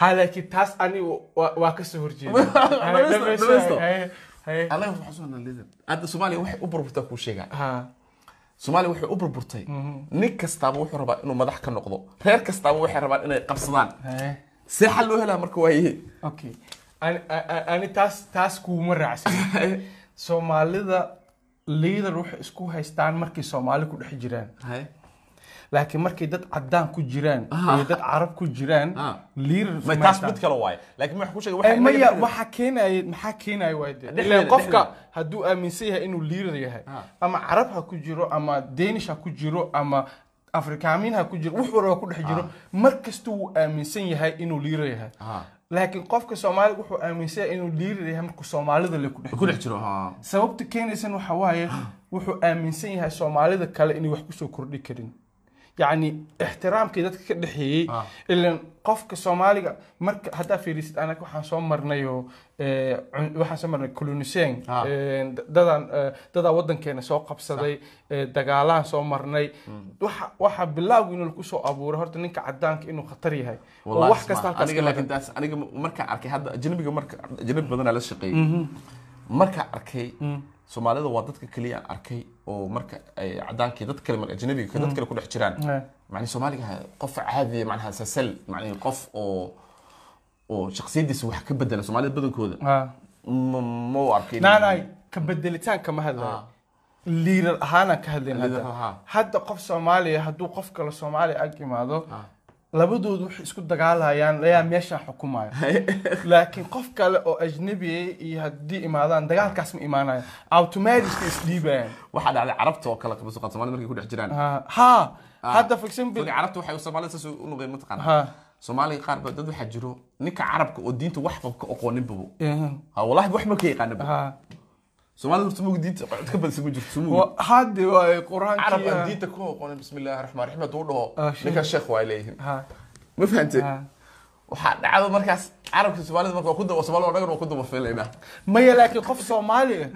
A: ha laakiin taas anigu waa waa kasoo horjeeda
B: Dhamaysto, dhamaysto.
A: Haye, haye.
B: annaga waxaan soo liidar hadda soomaaliya waxay u burburtaa kuu sheegaa
A: Ha.
B: soomaaliya waxay u burburtay nin kastaaba wuxuu rabaa inuu madax ka noqdo reer kastaaba waxay rabaan inay qabsadaan
A: Haye.
B: see xal loo helaa marka waaye
A: okay ani a- ani taas taas kuuma raacsan soomaalida liidar waxay isku haystaan markay soomaali ku dhex jiraan laakiin markay dad cadaan ku jiraan iyo dad carab ku jiraan
B: Ah.
A: liidar
B: ma taas mid kale waaye laakiin waxaan ku sheegay waxa
A: maya
B: inaga-
A: waxaa keenaya maxaa keenaya waa dee
B: Dhexdeeda,
A: ileen qofka
B: dhexdeeda.
A: hadduu aaminsan yahay inuu liidar yahay
B: Ah.
A: ama carab ha ku jiro ama danish ha ku jiro ama afrikaamin ha ku jiro wax walba ku dhex jiro mar kastuu wuu aaminsan yahay inuu liidar yahay
B: Ah.
A: laakiin qofka soomaaliga wuxuu aaminsan yahay inuu liidar yahay markuu soomaalida le ku dhex
B: ku dhex jiro ha
A: sababta keenaysan waxa waaye wuxuu aaminsan yahay soomaalida kale inay wax kusoo kordhi karin yacni ixtiraamkii dadka ka dhexeeyey
B: Ah.
A: ilan qofka soomaaliga marka haddaa fiirisid anaga waxaan soo marnayoo eh, cun- waxaan soo marnay koloniseen
B: Ah.
A: dadaan eh, dadaa waddankeena soo qabsaday eh, dagaalaan soo marnay waxa waxaa bilaawga inuu kusoo abuuray horta ninka cadaanka inuu khatar yahay oo
B: والله
A: wax
B: اسمع،
A: kasta halkaas
B: aniga
A: ka
B: laakiin
A: laga-
B: taas aniga markaan arkay hadda ajnabiga marka ajnabi badanaa la shaqeeyey markaan arkay soomaalida waa dadka kaliya aan arkay oo marka ay cadaankii dad kale marka ajnabiga ka dad kale ku dhex jiraan
A: Eh,
B: macni soomaaliga ha- qof caadiya macnaha sasal macni qof oo oo shakhsiyadiisa wax ka bedela soomaalida badankooda
A: ah,
B: ma u arkin
A: naanay ka bedelitaanka ma hadlayo
B: Ah.
A: liirar ahaana ka hadlayn
B: Liirar
A: hadda
B: ahaan.
A: hadda qof soomaaliya hadduu qof kale soomaaliya ag yimaado
B: Ah.
A: labadoodu waxay isku dagaalayaan ayaa meeshaan xukumaya laakiin qof kale oo ajnabiya iyo haddii imaadaan dagaalkaas ma imaanayo automatically isdhiibayaan
B: waxaa dhacday carabta oo kale qabso qaad soomaalida markay ku dhex jiraan
A: Ah, ha
B: Ah.
A: hadda for example
B: Marka carabta waxay soomaalida saas u noqdeen mataqaanaa
A: ha
B: soomaaliga qaar baa dad waxaa jiro ninka carabka oo diinta waxba ka aqooninbabo
A: eh,
B: ha walahi waxba ka yaqaanaba
A: ha
B: soomaalida horta mug diinta cod ka badan sama jirto sumugi
A: Wa- hadda waay
B: carab aan
A: qur-aankii
B: diinta ku aqoonin bismi illaahi raxmaan raxiim hadduu
A: Ah,
B: dhaho
A: sheekh.
B: ninka sheekh waa leeyihin
A: ha
B: ma fahantay
A: ha
B: waxaa dhacdo markaas carabka soomaalida marka waa ku daba soomaalida oo dhagan waa ku daba filaynaa
A: maya laakiin qof soomaali ah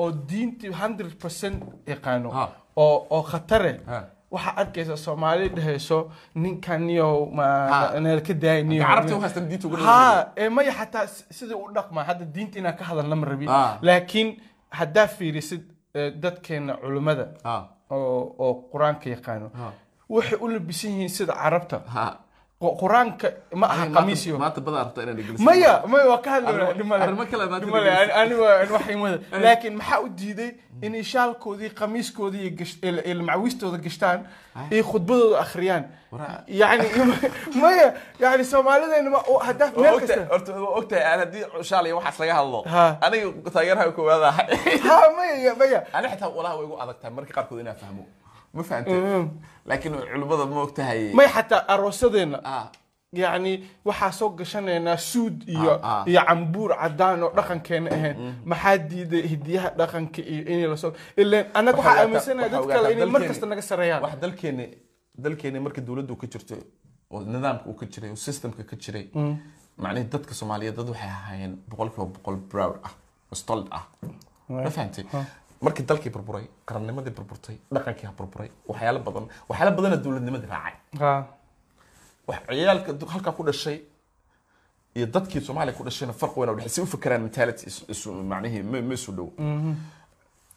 A: oo diintii 100% yaqaano
B: Ha.
A: oo oo khatare
B: Ha.
A: waxaa arkaysa soomaali dhehayso ninkan yow
B: Ha.
A: ma ka daay niyo
B: carabta u haystan diinta ugu dhagan
A: ها ما يحتى سيدي ودقما هذا دينتي انا كهذا لما ربي
B: آه.
A: لكن هدا في رسد ددكين علماء
B: ha
A: oo oo quraanka yaqaano
B: ha
A: waxay u labisan yihiin sida carabta
B: ha
A: Qu- quraanka ma aha
B: Maanta-
A: qamiisyo
B: maanta badaa rabtaa inaad igeliso
A: maya maya waa ka hadlaynaa
B: Arrimo-
A: dhimale
B: arrimo kale maanta
A: dhimale
B: dhegeysa.
A: ani waa an waxay wada laakiin maxaa u diiday inay shaalkoodii qamiiskoodii iyo gash- il- il- macawiistooda gashtaan iyo khudbadooda akhriyaan
B: Waraa-
A: yani maya yani soomaalideena ma oo haddaaf meel kasta
B: horta waa ogtahay aan haddii shaalay waxaas laga hadlo
A: Ha.
B: aniga taageeraha koowaadahay
A: ها مية مية
B: ani xitaa walaha way igu adagtahay marka qaarkood inaan fahmo ma fahantay laakiin culimmada ma ogtahay
A: مي حتى أروسدين
B: ah
A: يعني waxaa soo gashanayna suud iyo
B: Ah, ah.
A: iyo cambuur cadaan oo dhaqankeena ahayn maxaa diiday hidiyaha dhaqanka iyo in la soo ileen anaga
B: Waxaa
A: waxaa
B: ogaata-
A: aaminsanahay
B: waxaa
A: dad kale
B: ogaata
A: inay mar
B: dalkeena-
A: kasta naga sareeyaan
B: wax dalkeena dalkeena marka dowladdu ka jirto oo nidaamka uu ka jiray oo systemka ka jiray macnihii dadka soomaaliyeed dad waxay ahaayeen boqolkiiba boqol proud ah oo stolid ah ma fahantay markii dalkii burburay qarannimadii burburtay dhaqankii ha burburay waxyaalo badan waxyaalo badana dowladnimadii raacay
A: ها
B: wax ciyaalka du- halkaa ku dhashay iyo dadkii soomaaliya ku dhashayna farq weyn oo dhexay si u fakeraan mentality is- isu macnihii ma ma isu dhow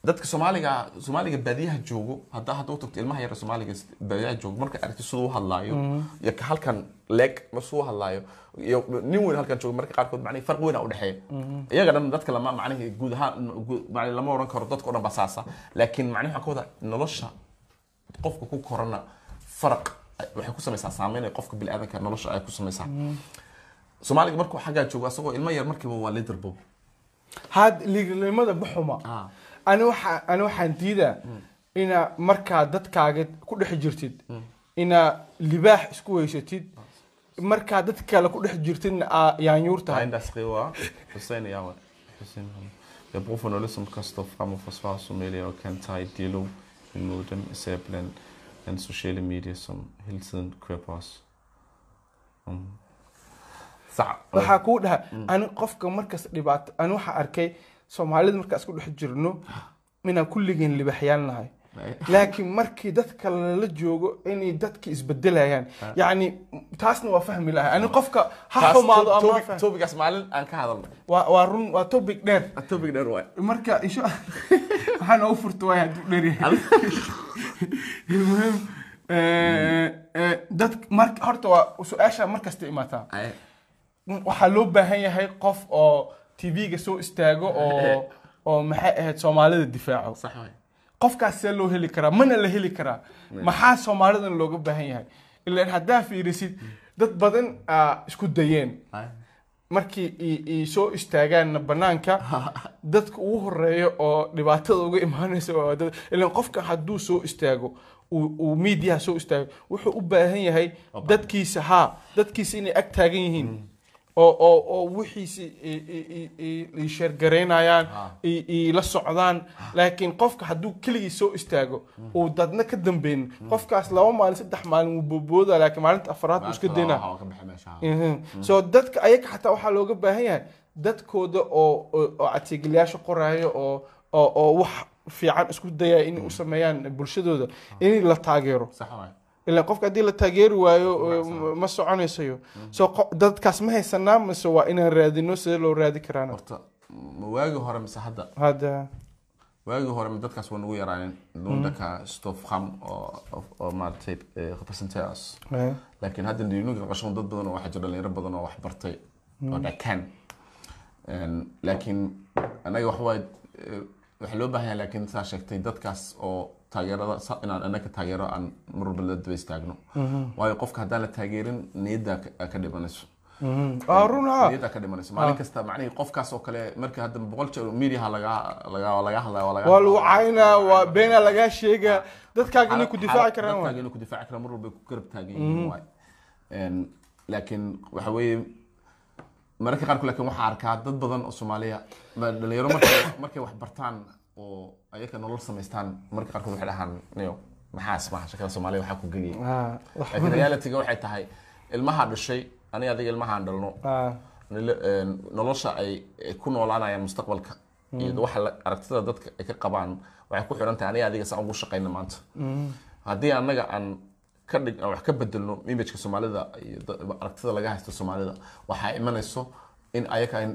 B: dadka soomaaliga soomaaliga baadiyaha joogo haddaa hadda u tagto ilmaha yara soomaaliga s- baadiyaha joogo marka aragti siduu u hadlaayo iyo ka halkan leeg siduu u hadlaayo iyo nin weyn halkan joogo marka qaarkood macnihii farq weyn aa u dhexeeya iyaga dhan dadka lama macnihii guud ahaan guud- macnihii lama odhan karo dadka o dhan baa saasa laakiin macnihi waxaan ka wadaa nolosha qofka ku korana faraq waxay ku samaysaa saameyn ay qofka biniaadanka nolosha ay ku samaysaa soomaaliga markuu xaggaa joogo asagoo ilmo yar markiiba waa leader bob
A: هاد liignilimada buxuma
B: Ah.
A: ani waxaa ani waxaan diidaa inaa markaa dadkaaga ku dhex jirtid inaa libaax isku weysatid markaa dad kale ku dhex jirtidna aa yaanyuur tahay
B: indaas qiiwaa xuseen yaawe xuseen qofanolism kastoo famo fosfaha somalia oo kentai dilow modem isablen and social media som hilson crepos Um. sax
A: waxaa kuu dhaha ani qofka markas dhibaato ani waxaa arkay soomaalida markaan isku dhex jirno inaan kulligeen libaxyaan nahay laakiin markii dadka lala joogo inay dadki isbedelayaan yacni taasna waa fahmi lahay ani qofka ha xumaado ama ha fahmo.
B: tobigaas maalin aan ka hadalno
A: waa waa run waa topic dheer
B: tobig dheer waay
A: marka isho waxaan ugu furta waay hadduu dheryahay muhiim eh, dad mar horta waa su-aasha markasta imaataa waxaa loo baahan yahay qof oo tv-ga soo istaago oo oo maxay ahayd soomaalida difaaco
B: sax waay
A: qofkaas see loo heli karaa mana la heli karaa maxaa soomaalidan looga baahan yahay ilaan haddaa fiirisid dad badan aa isku dayeen markii i- i soo istaagaanna bannaanka dadka ugu horeeya oo dhibaatada uga imaanaysa waa dad- ilaan qofka hadduu soo istaago uu uu miidiyaha soo istaago wuxuu u baahan yahay dadkiisa haa dadkiisa inay ag taagan yihiin oo oo oo wixiisa i- i- i- i- i sheergaraynayaan
B: Ha.
A: i- iila socdaan laakiin qofka hadduu keligii soo istaago uu dadna ka dambeyn qofkaas laba maalin saddex maalin wuu boobooda laakiin maalinta afraad uu iska daynaa
B: Waxaa ka baxay meesha.
A: so dadka ayaga xataa waxaa looga baahan yahay dadkooda oo oo- oo adeeglayaasha qoraayo oo oo oo wax fiican isku daya inay u sameeyaan bulshadooda in la taageero
B: sax waay
A: ilaa qofka haddii la taageeri waayo oo ma- ma soconaysayo so qo- dadkaas ma haysanaa mise waa inaan raadino sidee loo raadi karaana
B: horta ma waagii hore mise hadda
A: hadda
B: waagii hore ma dadkaas waa nagu yaraaneen nuundaka stofham oo oo- oo maaragtay eh, representate us
A: eh,
B: laakiin hadda dhiinuga qashan dad badan oo waxaa jira dhalinyaro badan oo wax bartay oo dhakaan Een, laakiin anaga wax waay waxa loo baahan yahay laakiin saa sheegtay dadkaas oo taageerada sa- inaan anaga taageero aan mar walba la daba istaagno waayo qofka haddaan la taageerin niyadda ka- aa ka dhimanayso
A: اه رونا
B: niyadda aa ka dhimanayso maalin kasta macnihii qofkaas oo kale marka hadda boqol jeer mediaha laga laga laga hadlaya waa laga
A: waa lagu caynaa waa beena lagaa sheegaa dadkaaga inay ku difaaci karaan
B: dadkaaga
A: waay.
B: inay ku difaaci karaan mar walba ay ku garab taagan yihiin waay Een, laakiin waxa weeye mararka qaarku laakiin waxaa arkaa dad badan oo soomaaliya ma- dhalinyaro markay markay wax bartaan oo ayaga nolol samaystaan marka qaarkood waxay dhahaan niyo maxaas maha shakada soomaaliya waxaa ku geliyay
A: آه، وح-
B: laakiin reality-ga waxay tahay ilmaha dhashay aniga adiga ilmahaan dhalno
A: آه،
B: nilo- een, nolosha ay ay ku noolaanayaan mustaqbalka iyo waxa la- aragtida dadka ay ka qabaan waxay ku xiran tahay aniga adiga saan ugu shaqayna maanta
A: mm-hmm.
B: haddii annaga aan ka dhig aan wax ka bedelno imageka soomaalida iyo da- aragtida laga haysto soomaalida waxaa imanayso in ayaga ay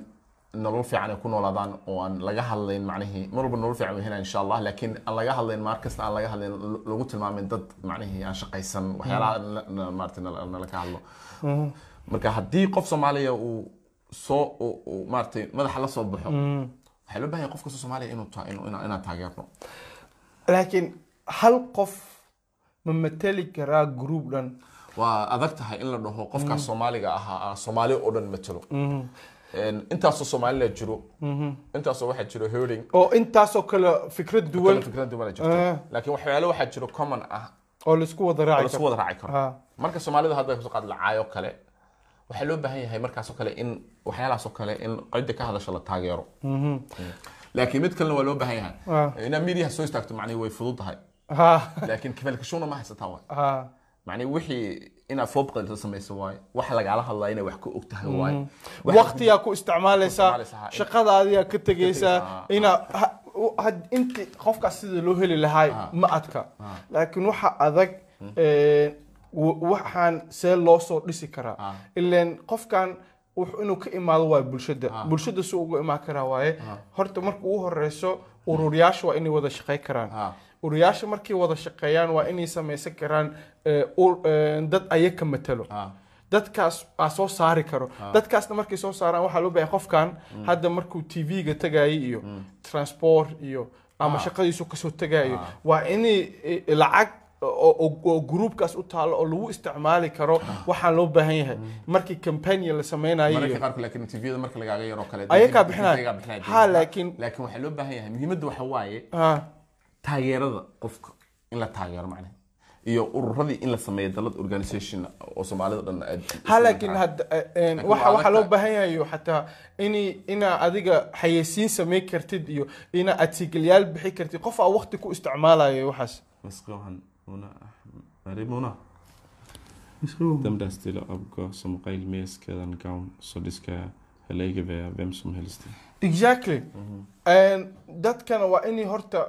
B: nolol fiican ay ku noolaadaan oo aan laga hadlayn macnihii mar walba nolol fiican way helaan insha allah laakiin aan laga hadlayn maar kasta aan laga hadlayn lo- loogu tilmaamin dad macnihii aan shaqaysan waxyaalaha aan la- na- maaragtay nala nala ka hadlo marka haddii qof soomaaliya uu soo uu- uu maaragtay madaxa la soo baxo waxaa loo bahan yahay qof kasta soomaaliya inuu ta- inuu- inaa- inaan taageerno
A: laakiin hal qof ma mateli karaa gruub dhan
B: waa adag tahay in la dhaho qofkaas soomaaliga ahaa ah soomaali oo dhan matalo Een, intaasoo soomaalila jiro intaasoo waxaa jiro herding
A: oo intaasoo kale fikrad
B: kala
A: duwan
B: fikrad duwana jirto
A: Ah.
B: laakiin waxyaalo waxaa jiro common ah
A: oo laisku wada
B: oo
A: raaci
B: laisku
A: karo
B: wada raaci karo
A: Ah.
B: marka soomaalida hadda kasoo qaad lacaayo kale waxaa loo baahan yahay markaasoo kale in waxyaalahaasoo kale in cidda ka hadasha la taageero laakiin mid kalena waa loo baahan
A: Ah.
B: yahay inaad midiyaha soo istaagto macnihi way fudud tahay
A: ها
B: laakiin kifaalkashuuna ma haysataa waay
A: ها
B: macnii wixii inaad foobqalisa samayso waaye wax lagala hadlaa inay wax ku og tahay waaye
A: waqtiyaa ku isticmaalaysaa
B: isticmaalaysaa.
A: shaqadaadiyaa ka
B: Ah,
A: tegaysaa
B: ah.
A: inaa ha- u- had- inti qofkaas sida loo heli lahaa
B: Ah. Hmm.
A: ma adka laakiin waxa adag eh, w- waxaan see loo soo dhisi karaa
B: Ah.
A: ileen qofkan wux- inuu ka imaado waa bulshada
B: Ah.
A: bulshada suu uga imaan karaa waaye horta marka ugu horeyso ururyaashi waa inay wada shaqey karaan
B: Hmm. Ah.
A: ururyaashi markay wada shaqeeyaan waa inay samaysan karaan eh, ur- eh, dad ayaga matalo
B: Ah.
A: dadkaas aa soo saari karo dadkaasna markay soo saaraan waxaa loo baahay qofkan hadda markuu tv-ga tagayay iyo transport iyo ama
B: Ah.
A: shaqadiisu kasoo tagayo waa inay eh, lacag oo- oo oo gruubkaas u taalo oo lagu isticmaali karo waxaan loo baahan yahay markii campania la samaynayo
B: mararka
A: iyo-
B: qaarkood laakiin tviyada marka lagaaga yaroo kale
A: Ayagaa bixinaya.
B: ayagaa bixinaya.
A: Ha, laakiin-
B: laakiin waxaa loo baahan yahay muhiimadda waxa waaye
A: Ah,
B: taageerada qofka in la taageero macnaha iyo ururadii in la sameeyo dalad organisation oo soomaalida dhan ay-
A: ha laakiin hadda eh, eh,
B: Laakiin
A: waxa
B: waa
A: waxaa loo
B: adag
A: baahan yahay iyo xataa inay inaa adiga xayeysiin samayn kartid iyo inaa adsigilyaal bixi kartid qof aa waqti ku isticmaalayo waxaas
B: مسخ waxaan una arrimo una damdaas tilo abgo samqayl meeskeedan gown soo dhiska haleegabaya bemsum helista
A: exactly Een, dadkana waa inay horta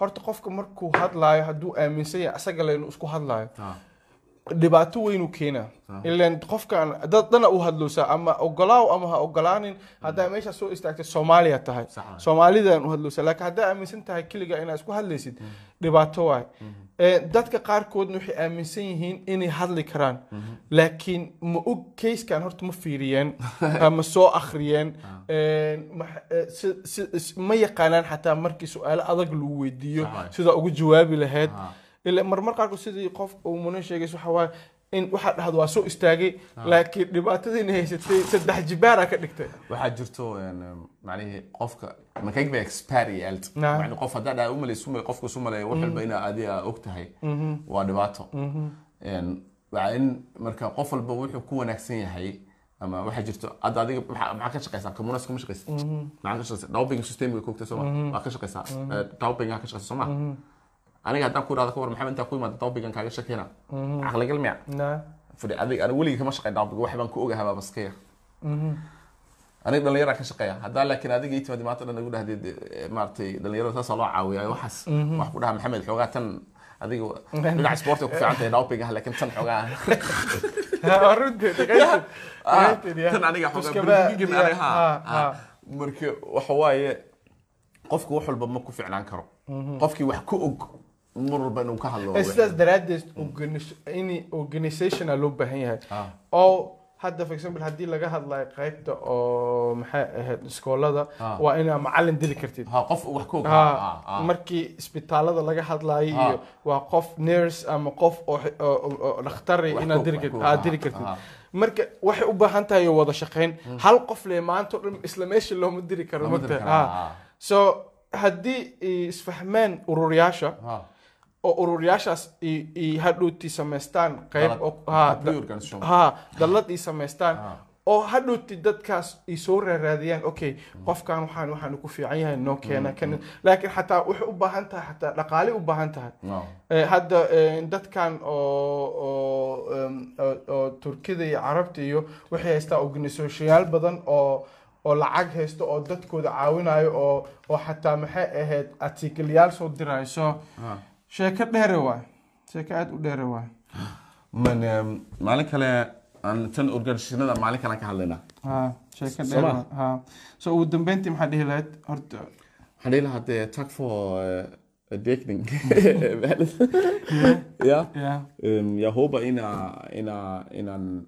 A: horta qofka markuu hadlaayo hadduu aaminsan yahay asaga laynu isku hadlaayo dhibaato weynuu keenaa ilan qofkan dad dana u hadloosaa ama ogolaaw ama ha ogolaanin haddaa meesha soo istaagtay soomaaliya tahay
B: Sax waay.
A: soomaalidaan u hadloosaa laakiin haddaa aaminsan tahay keligaa inaad isku hadlaysid dhibaato waay Ee, dadka qaarkoodna waxay aaminsan yihiin inay hadli karaan laakiin ma og keyskan horta ma fiiriyeen ama soo akhriyeen Een, ma- ee, si- si- si- ma yaqaanaan xataa markii su-aalo adag lagu weydiiyo
B: Sax waay.
A: sidaa ugu jawaabi lahayd
B: Ah.
A: ilaa marmar qaarkood sidii qof uu munan sheegay waxa waaye in waxaa dhahdo waa soo istaagay laakiin dhibaatadiina haysatay saddex jibaaraa ka dhigtay
B: waxaa jirto een, macnihii qofka makaig ba experielt
A: Naam.
B: macni qof haddaa dhaa umalaysume qofka isu maleeya wax walba inaa adiga og tahay waa dhibaato Een, waa in marka qof walba wuxuu ku wanaagsan yahay ama waxaa jirto hadda adiga maxaa maxaa ka shaqaysaa communas kuma shaqaysa maxaa ka shaqaysaa dowbing system way kogta sooma waa ka shaqaysaa dowbingaa ka shaqaysa sooma aniga haddaan ku irahda ka war maxamed intaa ku imaada dowbingan kaaga shakeyna caqligal miya fadhi adig aniga weligii kama shaqeyn dhaafbiga wax baan ku ogahay baa baskaya aniga dhallinyara ka shaqeeya haddaa laakiin adiga ii timaadi maanta dhan nagu dhahdeed eh, maaragtay dhallinyarada saasaa loo caawiyaa waxaas wax ku dhaha maxamed xoogaa tan adiga dhinaca sportiga ku fiican tahay dhaafbiga laakiin tan xoogaa Ah, tan aniga xoogaa burburgin aniga ha ha. marka waxa waaye qofku wax walba ma ku ficnaan karo qofkii wax ku og mar walba inuu ka hadlo waa weyn.
A: sidaas daraadeed organis- in organizationaa loo baahan yahay
B: Ah.
A: oo hadda for example haddii laga hadlayo qaybta oo maxay ahayd iskoolada
B: Ah.
A: waa inaa macalin dili kartid
B: ها قف وحكوك
A: ها markii isbitaalada laga hadlayo iyo waa qof nurse ama qof oo xi- oo- oo- oo dhakhtari inaad dili kartid aad dili kartid marka waxay u baahan tahay wada shaqayn hal qof le maanta o dhan isla meesha Hmm. looma diri karo magta ha so haddii ay isfahmaan ururyaasha oo ururyaashaas ay- ay hadhowti samaystaan qayb oo- ha ah, da- ها دلت اي سميستان
B: آه.
A: oo hadhowti dadkaas ay soo raaraadiyaan okay qofkan waxaan waxaan ku fiican yahay noo keena kan laakiin xataa waxay u baahan tahay xataa dhaqaale u baahan tahay Eh, hadda eh, dadkan oo oo em, oo- oo turkida iyo carabta iyo waxay haystaa organisationyaal badan oo oo lacag haysto oo dadkooda caawinayo oo oo xataa maxay ahayd artikelyaal soo dirayo so sheeko dheere waay sheeko aad u dheere waay
B: من مالك هلا أنا تن أورجانيشننا مالك أنا كهلنا
A: ها شركة
B: صباح.
A: ديرنا ها سو ودنبنتي محد هلات هرت
B: هنيل هاد تاك فور ديكنينج يا
A: يا
B: يا هوبا إنا إنا إنا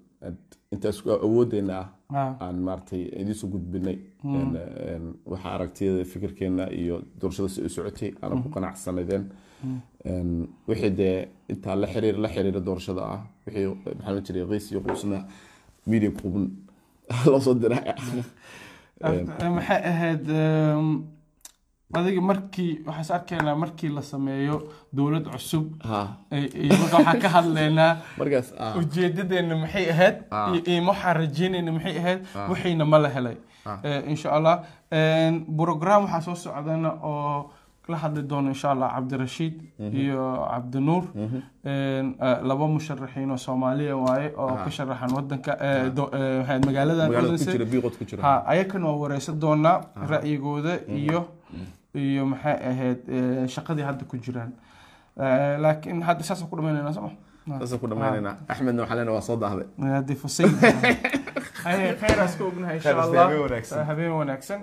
B: أنت أود إنا
A: ها
B: aan maaragtay idin soo gudbinay Een, een, waxa aragtiyada fikirkeena iyo doorashada si ay u socotay aan ku qanacsanadeen Een, wixii dee intaa la xiriir la xiriira doorashada ah wixii maxaa la jiray qiis iyo quusna media kuban loo soo diray Um,
A: maxay ahayd um, adiga markii waxaan arkaynaa markii la sameeyo dowlad cusub
B: ha
A: ay- ay marka waxaan ka hadlaynaa
B: markaas ah
A: ujeedadeena maxay ahayd
B: Ah.
A: iyo- iyo waxaan rajaynayna maxay ahayd
B: Ah.
A: waxayna ma la helay
B: Ah.
A: Eh, insha allah Een, program waxaa soo socdana oo la hadli doona insha allah cabdirashiid
B: Mhm.
A: iyo cabdinuur Een, eh, laba musharaxiin oo soomaaliya waaye oo
B: Ah.
A: ka sharaxan wadanka eh, do- eh, waxay ahayd magaaladan
B: magaalada ku
A: Odense.
B: jira biiqood ku jira
A: ha ayakana waa wareysan doonaa ra'yigooda iyo iyo maxay ahayd eh, shaqadii hadda ku jiraan Eh, laakiin hadda saasaan ku dhameynaynaa soo ma
B: taasaan ku dhammaynaynaa axmedna waxaa leenahay waa soo daahday
A: هذه فصيل هاي خير اسكوب منها ان شاء
B: خير أسكوب،
A: الله
B: هبين ونكسن.
A: هبين ونكسن